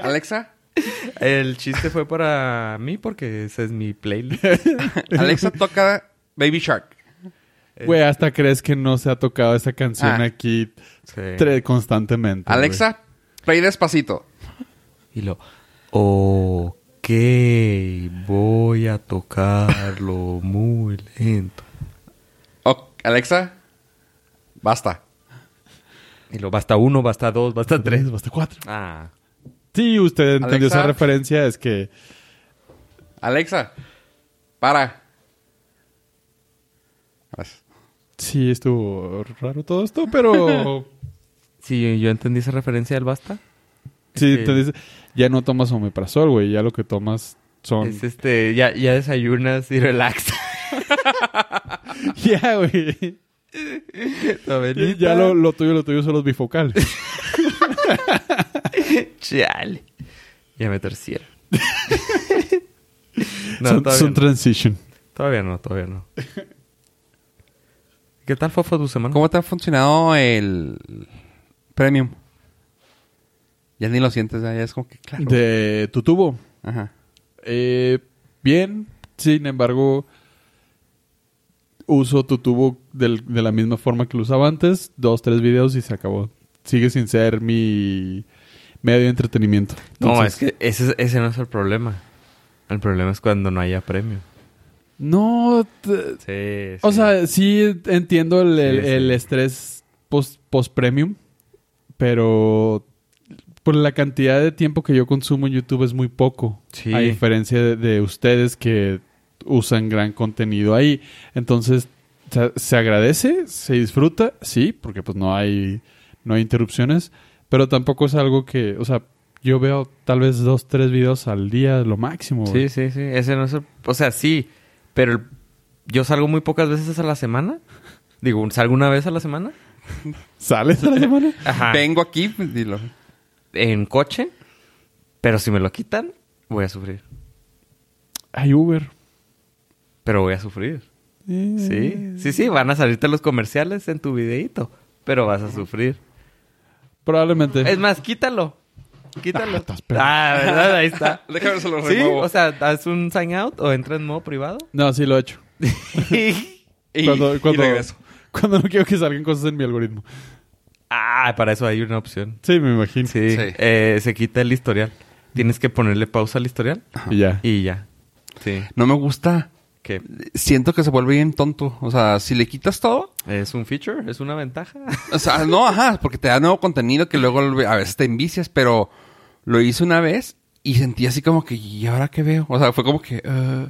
A: Alexa,
C: El chiste fue para mí porque esa es mi playlist.
A: Alexa toca Baby Shark.
B: Güey, hasta crees que no se ha tocado esa canción
A: Ah.
B: aquí
C: Sí.
B: tre- constantemente. güey.
A: Alexa, play despacito.
C: Y lo. Ok, voy a tocarlo muy lento.
A: O- Alexa, basta.
C: Y lo basta uno, basta dos, basta tres.
B: Tres, basta cuatro.
C: Ah.
B: Sí, usted entendió
A: Alexa.
B: esa referencia. Es que
A: Alexa, para. Gracias.
B: sí estuvo raro todo esto, pero...
C: Sí, yo entendí esa referencia del basta.
B: sí,
C: Es que-
B: entonces ya no tomas omeprazol, güey. Ya lo que tomas son...
C: Es este, ya, ya desayunas y relax.
B: Ya, güey. Y Ya lo, lo tuyo, lo tuyo son los bifocales.
C: Chale. Ya me terciera. no,
B: son,
C: todavía,
B: son
C: no.
B: transition.
C: todavía no, todavía no. ¿Qué tal fue, fue tu semana?
A: ¿Cómo te ha funcionado el premium? Ya ni lo sientes, ya ya es como que claro.
B: De tu tubo.
A: Ajá.
B: Eh, bien, sin embargo, uso tu tubo del- de la misma forma que lo usaba antes, dos, tres videos y se acabó. Sigue sin ser mi medio de entretenimiento.
C: No,
B: Entonces,
C: es que ese, ese no es el problema. El problema es cuando no haya premio.
B: No, t-
C: Sí,
B: o sea, sí entiendo el, el-
C: Sí, sí.
B: el estrés post- post-premium, pero por la cantidad de tiempo que yo consumo en YouTube es muy poco.
C: Sí.
B: A diferencia de, de ustedes que usan gran contenido ahí. Entonces, se, se agradece, se disfruta, sí, porque pues no hay, no hay interrupciones, pero tampoco es algo que, o sea, yo veo tal vez dos, tres videos al día, lo máximo. güey.
C: Sí, sí, sí. Ese no es el- O sea, sí, pero el- yo salgo muy pocas veces a la semana. Digo, ¿salgo una vez a la semana?
B: ¿Sales a la semana?
C: Ajá.
A: Vengo aquí, pues, dilo.
C: En coche. Pero si me lo quitan, voy a sufrir.
B: Hay Uber.
C: Pero voy a sufrir.
B: Eh,
C: Sí, sí, sí, van a salirte los comerciales en tu videíto, pero vas a sufrir.
B: Probablemente.
C: Es más, quítalo. Quítalo.
B: Ah, estás
C: Ah,
B: pedo.
C: ¿verdad? Ahí está.
A: Déjame se lo
C: Sí,
A: remuevo.
C: o sea, haz un sign out o entra en modo privado.
B: No, sí lo he hecho.
A: y,
B: cuando,
A: y
B: cuando-
A: regreso.
B: cuando no quiero que salgan cosas en mi algoritmo.
C: ah, para eso hay una opción.
B: Sí, me imagino.
C: Sí,
A: Sí.
C: eh, se quita el historial. Tienes que ponerle pausa al historial
B: Y ya.
C: y ya. Sí,
A: No me gusta.
C: que
A: Siento que se vuelve bien tonto. O sea, si le quitas todo.
C: es un feature, es una ventaja.
A: O sea, no, ajá, porque te da nuevo contenido que luego a veces te envicias, pero lo hice una vez y sentí así como que, ¿y ahora qué veo? O sea, fue como que. eh,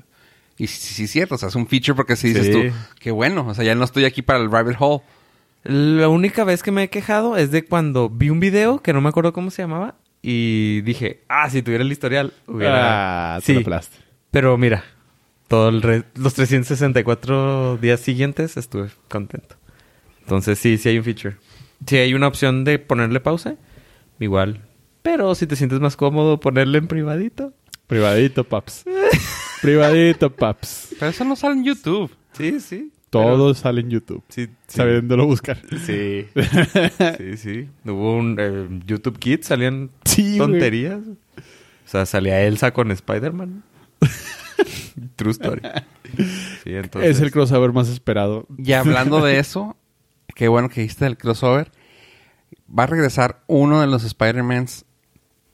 A: y sí, sí, sí, cierto. O sea, es un feature porque si dices
C: Sí.
A: tú, qué bueno. O sea, ya no estoy aquí para el rabbit hole.
C: La única vez que me he quejado es de cuando vi un video que no me acuerdo cómo se llamaba y dije, ah, si tuviera el historial, hubiera...
B: Ah, te
C: sí,
B: lo aplaste.
C: pero mira, todo el re- los 364 días siguientes estuve contento. Entonces sí, sí hay un feature. Sí hay una opción de ponerle pausa, igual. Pero si te sientes más cómodo ponerle en privadito.
B: Privadito, paps. Privadito, paps.
A: Pero eso no sale en YouTube.
C: Sí, sí.
B: Todo sale en YouTube.
C: Sí, sí.
B: Sabiéndolo buscar.
C: Sí. sí, sí. Hubo un eh, YouTube Kids, salían
B: Sí, güey.
C: tonterías. O sea, salía Elsa con Spider-Man. True story. Sí, entonces.
B: Es el crossover más esperado.
A: Y hablando de eso, qué bueno que dijiste del crossover. Va a regresar uno de los Spider-Mans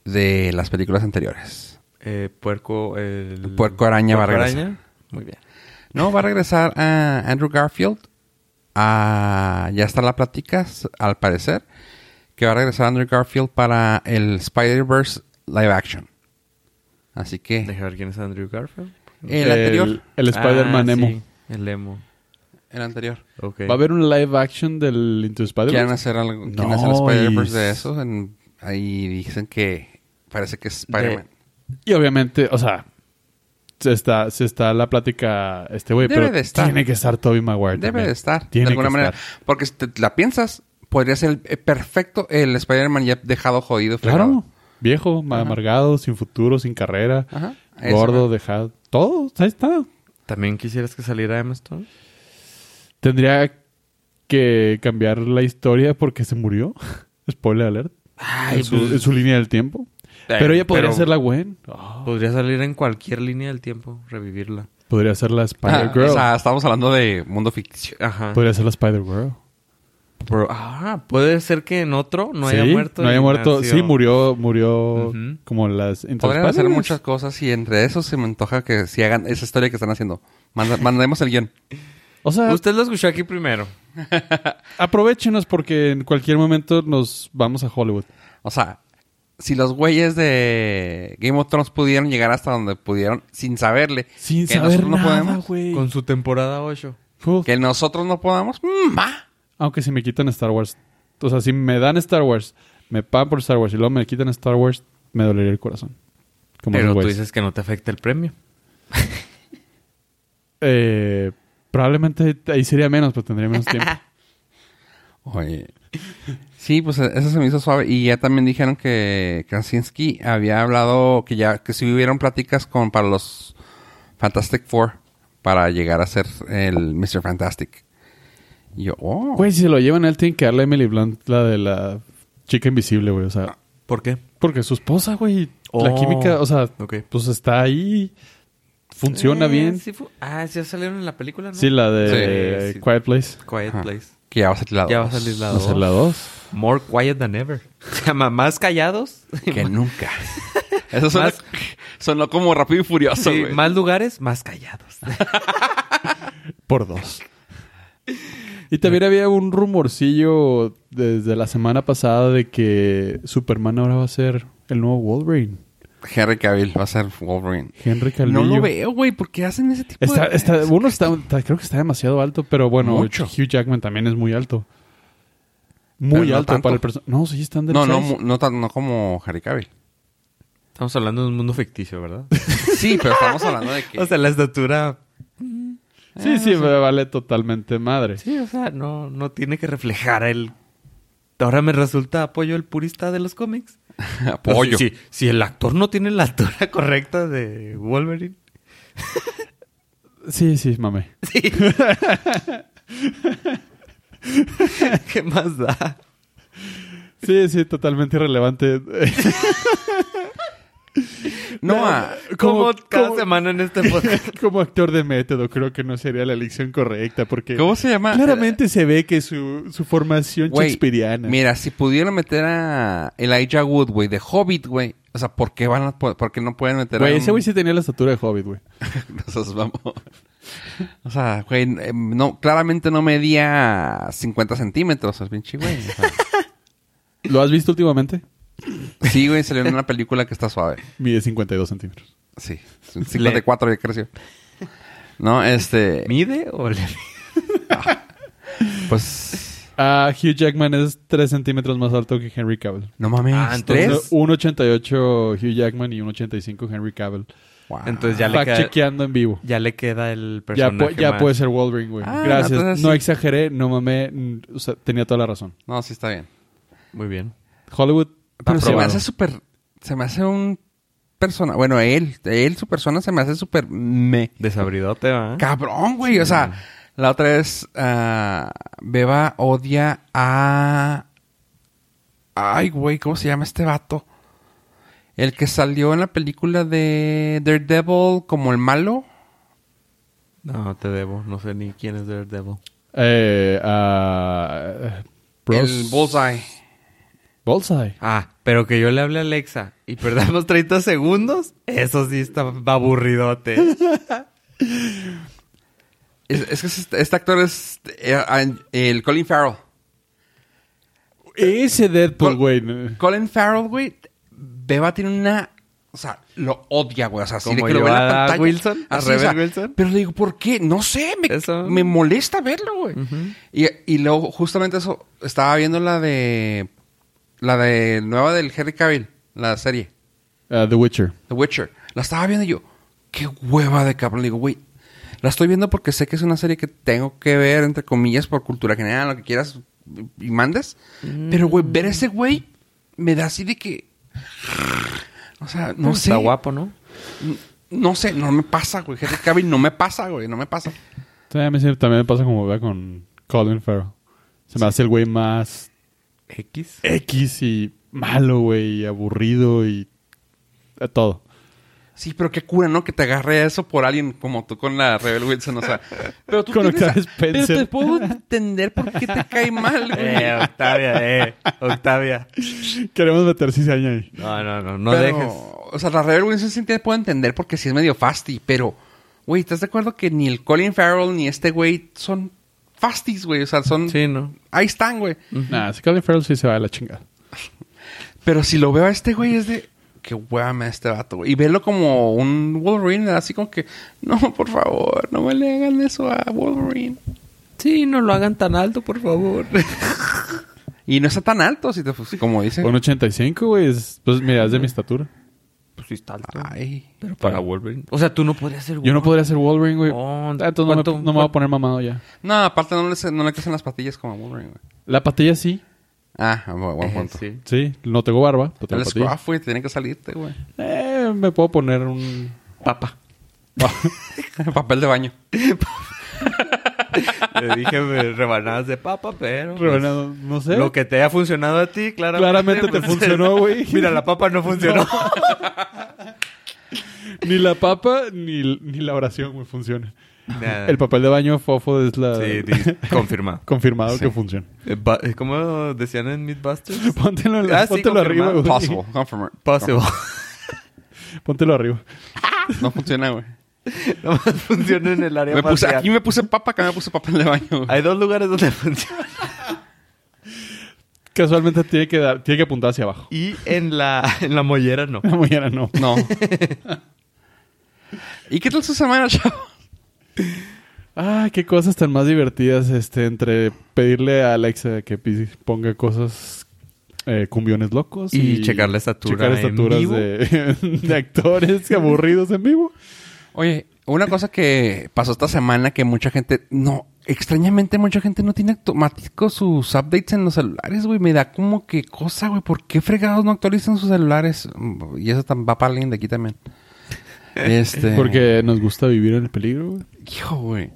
A: de las películas anteriores.
C: eh, puerco. El
A: Puerco araña va a regresar.
C: Muy bien.
A: No, va a regresar a Andrew Garfield. Ah, ya está la plática, s- al parecer, que va a regresar Andrew Garfield para el Spider-Verse live action. Así que
C: Deja ver quién es Andrew Garfield.
A: el anterior,
B: El, Spider-Man
C: Ah,
B: Emo.
C: sí, el emo.
A: el anterior.
C: Ok.
B: ¿Va a haber un live action del Into the
A: Quieren
B: Spider-Man?
A: hacer algo,
B: No,
A: quieren hacer el
B: y-
A: Spider-Verse de esos. en- ahí dicen que parece que es Spider-Man.
B: Y obviamente, o sea, se está, se está la plática este güey,
A: Debe
B: pero
A: de estar.
B: tiene que estar Toby Maguire.
A: Debe
B: también.
A: de estar,
B: Tiene
A: de alguna
B: que
A: manera.
B: estar.
A: Porque si te la piensas, podría ser el- eh, perfecto el Spider-Man ya dejado jodido.
B: Claro.
A: fregado.
B: Viejo,
A: Ajá.
B: amargado, sin futuro, sin carrera,
A: Ajá. Eso,
B: gordo,
A: ¿no?
B: dejado. Todo, ahí está.
C: ¿También quisieras que saliera Emma Stone?
B: Tendría que cambiar la historia porque se murió. Spoiler alert. en, su, en su línea del tiempo. pero ella podría ser la Gwen. Oh,
C: Podría salir en cualquier línea del tiempo, revivirla.
B: podría ser la
A: Ah, o
B: Spider-Girl.
A: sea, estamos hablando de mundo ficticio.
C: Ajá.
B: podría ser la Spider-Girl.
C: Pero, ah, puede ser que en otro no haya
B: Sí,
C: muerto.
B: No haya
C: y
B: muerto.
C: nació.
B: Sí, murió, murió
C: Ujú.
B: como las... entre
A: Podrían
B: las
A: hacer
B: Spider-Mans.
A: muchas cosas y entre eso se me antoja que si hagan esa historia que están haciendo. Manda- mandemos el guión.
B: O sea,
C: Usted lo escuchó aquí primero.
B: aprovechenos porque en cualquier momento nos vamos a Hollywood.
A: O sea, si los güeyes de Game of Thrones pudieron llegar hasta donde pudieron sin saberle
B: Sin
A: que
B: saber
A: nosotros no
B: nada,
A: podemos,
B: güey.
C: Con su temporada 8.
B: Uf,
A: que nosotros no podamos, mm, va.
B: Aunque si me quitan Star Wars. O sea, si me dan Star Wars, me pagan por Star Wars y luego me quitan Star Wars, me dolería el corazón. Como
C: Pero
B: esos
C: tú
B: güeyes.
C: dices que no te afecta el premio.
B: Eh, probablemente ahí sería menos, pero tendría menos tiempo.
A: Oye. Sí, pues eh, eso se me hizo suave. Y ya también dijeron que Krasinski había hablado que ya que si hubieron pláticas con para los Fantastic Four para llegar a ser el Mr. Fantastic. Y yo, oh.
B: Güey, si se lo llevan a él, tienen que darle a Emily Blunt la de la chica invisible, güey. O sea,
C: ¿Por qué?
B: porque su esposa, güey, la
C: Oh.
B: química, o sea,
C: Ok.
B: pues está ahí, funciona
C: Eh,
B: bien.
C: sí fu- ah, sí salieron en la película, ¿no?
B: Sí, la de
C: Sí, sí.
B: Quiet Place.
C: Quiet
A: Ajá.
C: Place.
A: Que ya va a salir la
C: Ya va a
A: dos.
C: salir la
B: Va a ser
C: 2.
B: la 2.
C: More quiet than ever. O sea, ma- más callados.
A: Que nunca. Eso sonó,
C: Más-
A: sonó como rápido y furioso,
C: Sí,
A: güey.
C: más lugares, más callados.
B: Por 2. Y también había un rumorcillo desde la semana pasada de que Superman ahora va a ser el nuevo Wolverine.
A: Henry Cavill va a ser Wolverine.
B: Henry Cavill.
A: No lo veo, güey. ¿Por qué hacen ese tipo
B: Está,
A: de...
B: está- uno está, está- creo que está demasiado alto, pero bueno,
A: Mucho.
B: Hugh Jackman también es muy alto. Muy
A: Pero no
B: alto
A: tanto.
B: para el personaje. No, sí, están del
A: No, no,
B: seis.
A: mu- no, tan- no como Henry Cavill.
C: Estamos hablando de un mundo ficticio, ¿verdad?
A: Sí, pero estamos hablando de que...
C: o sea, la estatura...
B: Sí,
A: Ah,
B: sí, me vale totalmente madre.
C: Sí, o sea, no, no tiene que reflejar el... Ahora me resulta apoyo el purista de los cómics.
A: apoyo.
C: Si, si- si el actor no tiene la altura correcta de Wolverine.
B: Sí, sí, mame.
C: Sí. ¿Qué más da?
B: Sí, sí, totalmente irrelevante.
A: No, ah,
C: Como
B: ¿Cómo-
C: cada
B: cómo-
C: semana en este podcast.
B: Como actor de método, creo que no sería la elección correcta porque
A: ah, ¿Cómo se llama? Eh,
B: claramente se ve que su, su formación
A: Güey,
B: shakespeariana.
A: Mira, si pudieran meter a Elijah Wood, güey, de Hobbit, güey. O sea, ¿por qué van a... po- ¿Por qué no pueden meter a...
B: Güey,
A: un-
B: ese güey sí tenía la estatura de Hobbit, güey.
A: No seas mamón. O sea, güey, eh, no, claramente no medía 50 centímetros, es pinche güey. O sea,
B: ¿Lo has visto últimamente?
A: sí, güey, salió en una película que está suave.
B: Mide 52 centímetros.
A: Sí, 54 ya creció. No, este,
C: ¿Mide o le
A: pues,
B: Ah, Hugh Jackman es 3 centímetros más alto que Henry Cavill.
A: no mames,
C: Ah, entonces-
A: ¿tres?
C: ¿Es?
B: 1.88 Hugh Jackman y 1.85 Henry Cavill.
A: Wow.
C: Ah, Entonces ya le,
B: Fact
C: queda,
B: chequeando en vivo.
C: ya pues. le queda
B: Ya,
C: el
B: pu-
C: personaje
B: ya
C: más.
B: puede ser Wolverine, güey.
A: Ah,
B: Gracias.
A: entonces
B: No
A: sí.
B: exageré, no mamé. mm, O sea, tenía toda la razón.
A: No, sí está bien.
C: Muy bien.
B: Hollywood.
A: Pero se me
B: aprobado.
A: hace súper, se me hace un persona, bueno, él, él, su persona se me hace súper me.
C: Desabridote, ¿va?
A: Cabrón, güey. O sea, la otra vez ah, Beba odia a... Ay, güey, ¿cómo se llama este vato? El que salió en la película de Daredevil como el malo.
C: No, te debo. No sé ni quién es Daredevil.
B: Eh, ah, eh, Bros-
A: El Bullseye.
B: Bullseye.
C: Ah, pero que yo le hable a Alexa y perdamos 30 segundos, eso sí está aburridote.
A: Es, es que este, este actor es eh, el Colin Farrell.
B: Ese
A: Col-
B: Deadpool, güey.
A: Colin Farrell, güey, Beba tiene una... O sea, lo odia, güey. O sea, así de
C: Como
A: que lo ve en
C: yo
A: la
C: a
A: pantalla.
C: Wilson, a
A: Así, o sea,
C: Rebel Wilson.
A: Pero le digo, ¿por qué? No sé, me,
C: Eso.
A: me molesta verlo, güey. y, y luego, justamente eso, estaba viendo la de... La de nueva del Henry Cavill, la serie.
B: Ah, The Witcher.
A: The Witcher. La estaba viendo y yo, qué hueva de cabrón. Le digo, güey, la estoy viendo porque sé que es una serie que tengo que ver, entre comillas, por cultura general, lo que quieras y mandes. Pero, güey, ver a ese güey me da así de que. O sea, no sé.
C: Está guapo, ¿no?
A: No sé, no me pasa, güey. Henry Cavill no me pasa, güey, no me pasa.
B: También me, también me pasa como vea con Colin Farrell. Se me hace el güey más
C: X.
B: X y malo, güey, y aburrido y eh, todo.
A: Sí, pero qué cura, ¿no? Que te agarre eso por alguien como tú con la Rebel Wilson, o sea. Pero tú
B: Con
A: tienes
B: Octavia
A: a- Pero
B: Spencer.
A: te puedo entender por qué te cae mal, güey.
C: Eh, Octavia, eh. Octavia.
B: Queremos meter cizaña ahí.
C: No, no, no, no
A: Pero,
C: dejes.
A: O sea, la Rebel Wilson sí te puedo entender porque sí es medio fasty, pero, güey, ¿estás de acuerdo que ni el Colin Farrell ni este güey son fasties, güey? O sea, son.
C: Sí, ¿no?
A: Ahí están, güey.
B: Nah, si Colin Farrell sí se va a la chingada.
A: Pero si lo veo a este güey es de. Qué hueva me da este vato, güey. Y verlo como un Wolverine, así como que. No, por favor, no me le hagan eso a Wolverine.
C: Sí, no lo hagan tan alto, por favor.
A: Y no está tan alto, si te, pues, como dice.
B: Con 85, güey, es- pues mira, es de mi estatura.
C: Pues sí, está alto.
A: Ay.
C: Pero para Wolverine. O sea, tú no podrías ser
B: Yo no podría ser Wolverine, güey.
C: Oh,
B: Ah, Entonces no me,
C: ¿cuánto-
B: no me voy a poner mamado ya.
A: No, aparte no le, no le crecen las patillas como a Wolverine, güey.
B: La patilla sí.
A: Ah, bu- buen punto.
C: Eh, Sí.
B: Sí, no tengo barba. pero tengo
A: El
B: patilla.
A: scruff, güey, tiene que salirte, güey.
B: Eh, me puedo poner un...
C: Papa.
A: Papel de baño.
C: Le dije me- rebanadas de papa, pero... pues,
B: Rebanado, no sé.
C: Lo que te haya funcionado a ti, claramente.
B: ¿eh? Claramente te
C: pues,
B: funcionó, güey.
C: Mira, la papa no funcionó.
B: Ni la papa ni, ni la oración, güey, funciona.
C: Nada.
B: El eh. papel de baño fofo es la...
C: Ah. Sí, di- confirmado.
B: confirmado
A: Sí.
B: que funciona.
C: Eh, ba- eh, ¿Cómo decían en Mythbusters?
B: Póntelo, en la-
C: Ah, sí,
B: póntelo arriba,
C: confirmado.
B: güey.
A: Possible. Confirm.
C: Possible.
B: Póntelo arriba.
A: No funciona, güey.
C: Nomás funciona en el área
A: Me puse,
C: facial.
A: aquí me puse papa, acá me puse papel de baño, güey.
C: Hay dos lugares donde funciona.
B: Casualmente tiene que, dar, tiene que apuntar hacia abajo.
C: Y en la, en la mollera no.
B: La mañana no.
A: No. ¿Y qué tal su semana, chavo?
B: Ah, qué cosas tan más divertidas, este, entre pedirle a Alexa que pi- ponga cosas, eh, cumbiones locos.
C: Y checar la estatura
B: Checar
C: en
B: estaturas
C: vivo.
B: De, de actores aburridos en vivo.
A: Oye, una cosa que pasó esta semana que mucha gente... No, extrañamente mucha gente no tiene automático sus updates en los celulares, güey. Me da como que cosa, güey. ¿Por qué fregados no actualizan sus celulares? Mm, Y eso tam- va para alguien de aquí también. Este...
B: Porque nos gusta vivir en el peligro, güey.
A: Hijo, güey.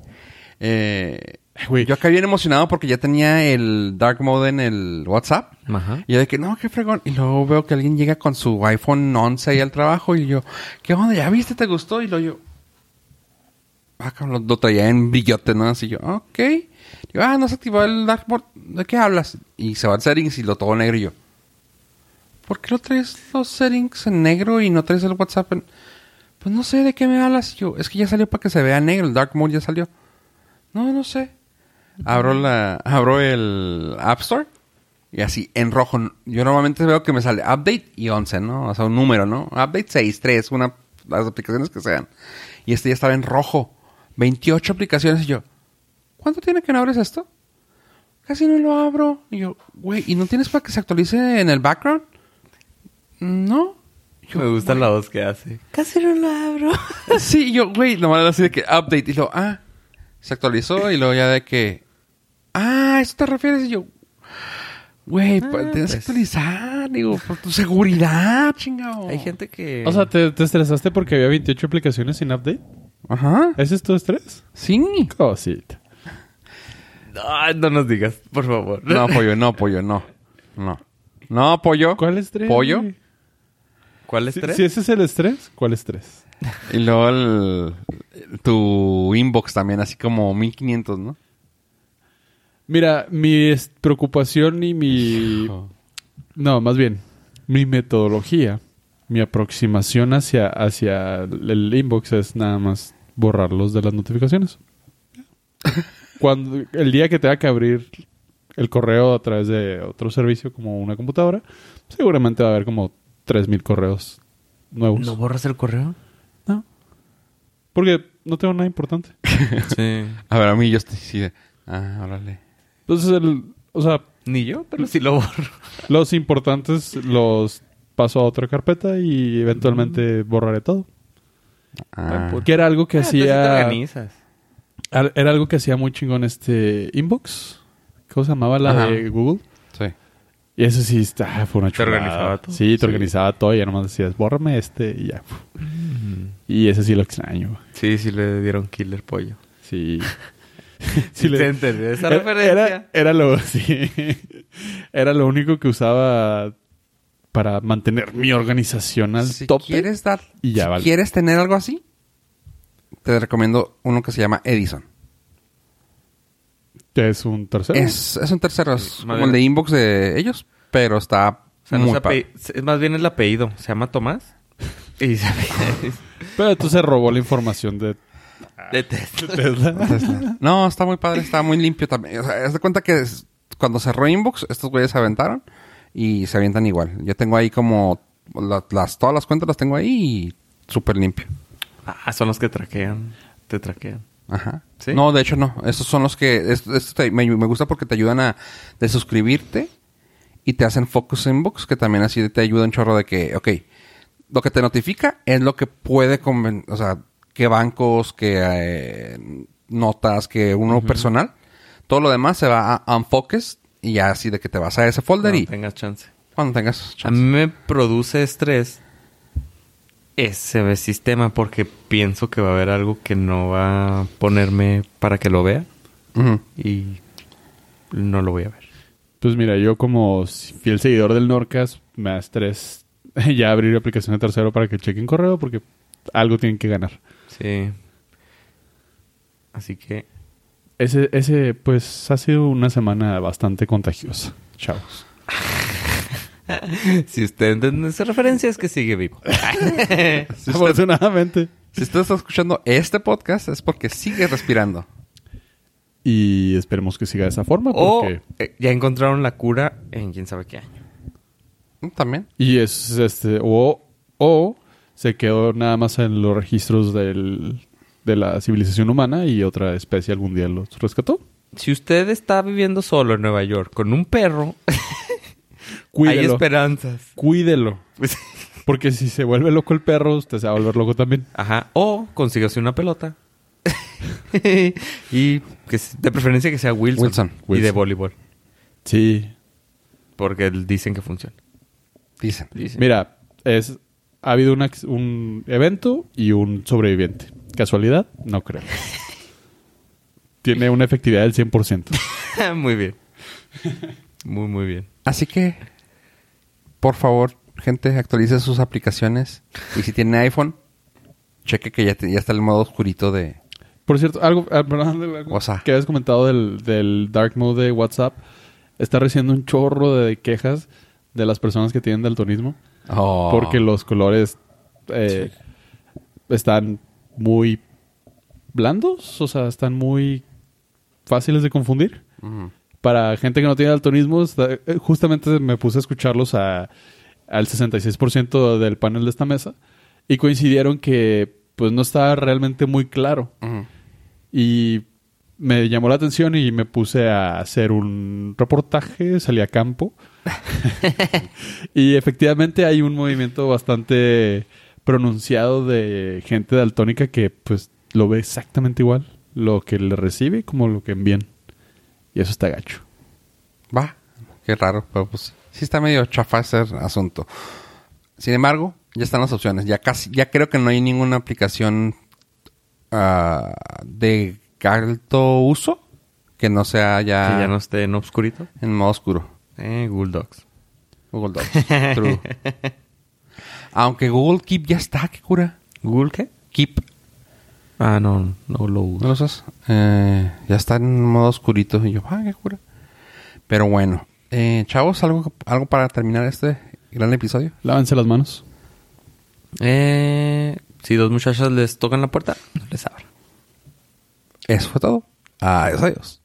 A: Eh...
B: Ay, güey.
A: Yo acá bien emocionado porque ya tenía el Dark Mode en el WhatsApp.
C: Ajá.
A: Y yo de que, no, qué fregón. Y luego veo que alguien llega con su iPhone 11 ahí al trabajo y yo, ¿qué onda? ¿Ya viste? ¿Te gustó? Y luego yo, ah, cabrón, lo, lo traía en brillote, ¿no? Así yo, ok. Digo, ah, no se activó el Dark Mode. ¿De qué hablas? Y se va al settings y lo todo negro y yo, ¿por qué lo traes los settings en negro y no traes el WhatsApp en...? Pues no sé de qué me hablas. Y yo, es que ya salió para que se vea negro. El Dark Mode ya salió. No, no sé. Abro la, abro el App Store y así en rojo. Yo normalmente veo que me sale update y 11, ¿no? O sea, un número, ¿no? Update 6, 3, una, las aplicaciones que sean. Y este ya estaba en rojo. 28 aplicaciones y yo, ¿cuánto tiene que no abres esto? Casi no lo abro. Y yo, güey, ¿y no tienes para que se actualice en el background? No.
C: Me gusta la voz que hace.
D: Casi no lo abro.
A: Sí, y yo, güey, nomás era así de que update. Y luego, ah, se actualizó. Y luego ya de que, ah, ¿a ¿eso te refieres? Y yo, güey,
C: Ah,
A: pa- tienes
C: pues.
A: que actualizar, digo, por tu seguridad, chingado.
C: Hay gente que...
B: O sea, ¿te, te estresaste porque había 28 aplicaciones sin update?
A: Ajá,
B: ¿Ese es tu estrés?
A: sí.
B: Cosita.
C: Ay, no nos digas, por favor.
A: No, pollo, no, pollo, no. No. No, pollo.
B: ¿Cuál estrés?
A: ¿Pollo?
B: güey?
C: ¿Cuál
B: Si,
C: estrés?
B: si ese es el estrés, ¿cuál estrés?
A: Y luego el, tu inbox también, así como 1500, ¿no?
B: Mira, mi es- preocupación y mi... No, más bien, mi metodología, mi aproximación hacia, hacia el inbox es nada más borrarlos de las notificaciones. Cuando el día que tenga que abrir el correo a través de otro servicio como una computadora, seguramente va a haber como 3000 correos nuevos.
C: ¿No borras el correo?
B: No. Porque no tengo nada importante.
C: Sí.
A: A ver, a mí yo estoy así de, Ah, órale.
B: Entonces, el, o sea,
C: Ni yo, pero sí lo borro.
B: los importantes los paso a otra carpeta y eventualmente borraré todo.
A: Ah.
B: Que era algo que hacía.
C: organizas.
B: al- Era algo que hacía muy chingón este Inbox. ¿Cómo se llamaba la
A: Ajá.
B: de Google?
A: Sí.
B: Y eso sí, está, ah, fue una
C: Te
B: chulada.
C: organizaba todo.
B: Sí, te
C: Sí.
B: organizaba todo y ya nomás decías, bórrame este y ya. Y ese sí lo extraño.
C: Sí, sí le dieron killer pollo.
B: Sí.
C: Sí,
B: le-
C: te entendí ¿eh? esa
B: Era-
C: referencia.
B: Era, era lo, sí. Era lo único que usaba para mantener mi organización al
A: si
B: tope.
A: quieres dar,
B: y ya
A: si
B: vale.
A: quieres tener algo así, te recomiendo uno que se llama Edison.
B: Que es un tercero.
A: Es, es un tercero, es
C: Sí,
A: como
C: madre.
A: el de inbox de ellos, pero está
C: O sea, no
A: muy
C: se
A: padre.
C: ape- se- más bien el apellido. Se llama Tomás. Y se
B: Pero entonces robó la información de
C: Detesto.
B: Tesla.
A: Tesla. No, está muy padre, está muy limpio también. O sea, haz de cuenta que es- cuando cerró Inbox, estos güeyes se aventaron y se avientan igual. Yo tengo ahí como la- las, todas las cuentas las tengo ahí y súper limpio.
C: Ah, son los que traquean. Te traquean.
A: Ajá.
C: ¿Sí?
A: No, de hecho no. Estos son los que... es- esto te- me, me gusta porque te ayudan a de suscribirte y te hacen Focus Inbox, que también así te ayuda un chorro de que, ok, lo que te notifica es lo que puede conven... O sea, qué bancos, qué eh, notas, que uno personal. Todo lo demás se va a Unfocus y ya así de que te vas a ese folder
C: No
A: y
C: tengas chance.
A: cuando tengas...
C: A
A: chance.
C: mí me produce estrés ese sistema porque pienso que va a haber algo que no va a ponerme para que lo vea
A: Ujú.
C: y no lo voy a ver.
B: Pues mira, yo como fiel seguidor del Norcas, me da estrés ya abrir aplicación de tercero para que chequen correo porque algo tienen que ganar.
C: Sí. Así que
B: Ese, ese, pues, ha sido una semana bastante contagiosa. Chavos.
C: si usted entiende esa referencia es que sigue vivo.
B: Afortunadamente.
A: Si usted está escuchando este podcast es porque sigue respirando.
B: Y esperemos que siga de esa forma
C: o
B: porque...
C: eh, ya encontraron la cura en quién sabe qué año.
A: Mm, También.
B: Y es este... O, o se quedó nada más en los registros del, de la civilización humana y otra especie algún día los rescató.
C: Si usted está viviendo solo en Nueva York con un perro, hay
B: Cuídelo.
C: esperanzas.
B: Cuídelo. Porque si se vuelve loco el perro, usted se va a volver loco también.
C: Ajá. O consígase una pelota. y que, s- de preferencia que sea Wilson.
A: Wilson,
C: Y de
B: Wilson.
C: voleibol.
B: Sí.
C: Porque dicen que funciona.
A: Dicen.
C: Dicen.
B: Mira, es... Ha habido un ac- un evento y un sobreviviente. ¿Casualidad? No creo. Tiene una efectividad del 100%.
C: muy bien. Muy, muy bien.
A: Así que, por favor, gente, actualice sus aplicaciones. Y si tiene iPhone, cheque que ya, te- ya está el modo oscurito de...
B: Por cierto, algo, ah, perdón, algo
A: WhatsApp.
B: que habías comentado del, del dark mode de WhatsApp. Está recibiendo un chorro de quejas de las personas que tienen daltonismo
A: Ah.
C: Oh.
B: porque los colores eh, están muy blandos, o sea, están muy fáciles de confundir.
A: Ujú.
B: Para gente que no tiene daltonismo, está- eh, justamente me puse a escucharlos a- al 66% del panel de esta mesa y coincidieron que pues no estaba realmente muy claro.
A: Ujú.
B: Y me llamó la atención y me puse a hacer un reportaje, salí a campo. y efectivamente hay un movimiento bastante pronunciado de gente daltónica que pues lo ve exactamente igual lo que le recibe como lo que envían. Y eso está gacho.
A: Va. Qué raro, pero pues sí está medio chafa ese asunto. Sin embargo, ya están las opciones. Ya casi, ya creo que no hay ninguna aplicación ah, de alto uso que no sea ya,
C: Que ya Ah, no esté en obscurito.
A: en modo oscuro.
C: Eh, Google Docs.
A: Google Docs. True. Aunque Google Keep ya está, qué cura.
C: ¿Google qué?
A: Keep.
C: Ah, no, no
A: ¿No
C: lo uso.
A: lo usas? Eh, ya está en modo oscurito. Y yo, ah, qué cura. Pero bueno. Eh, chavos, ¿algo, ¿algo para terminar este gran episodio?
B: Lávense las manos.
C: Eh, si dos muchachas les tocan la puerta, no les abra.
A: Eso fue todo. Adiós, adiós.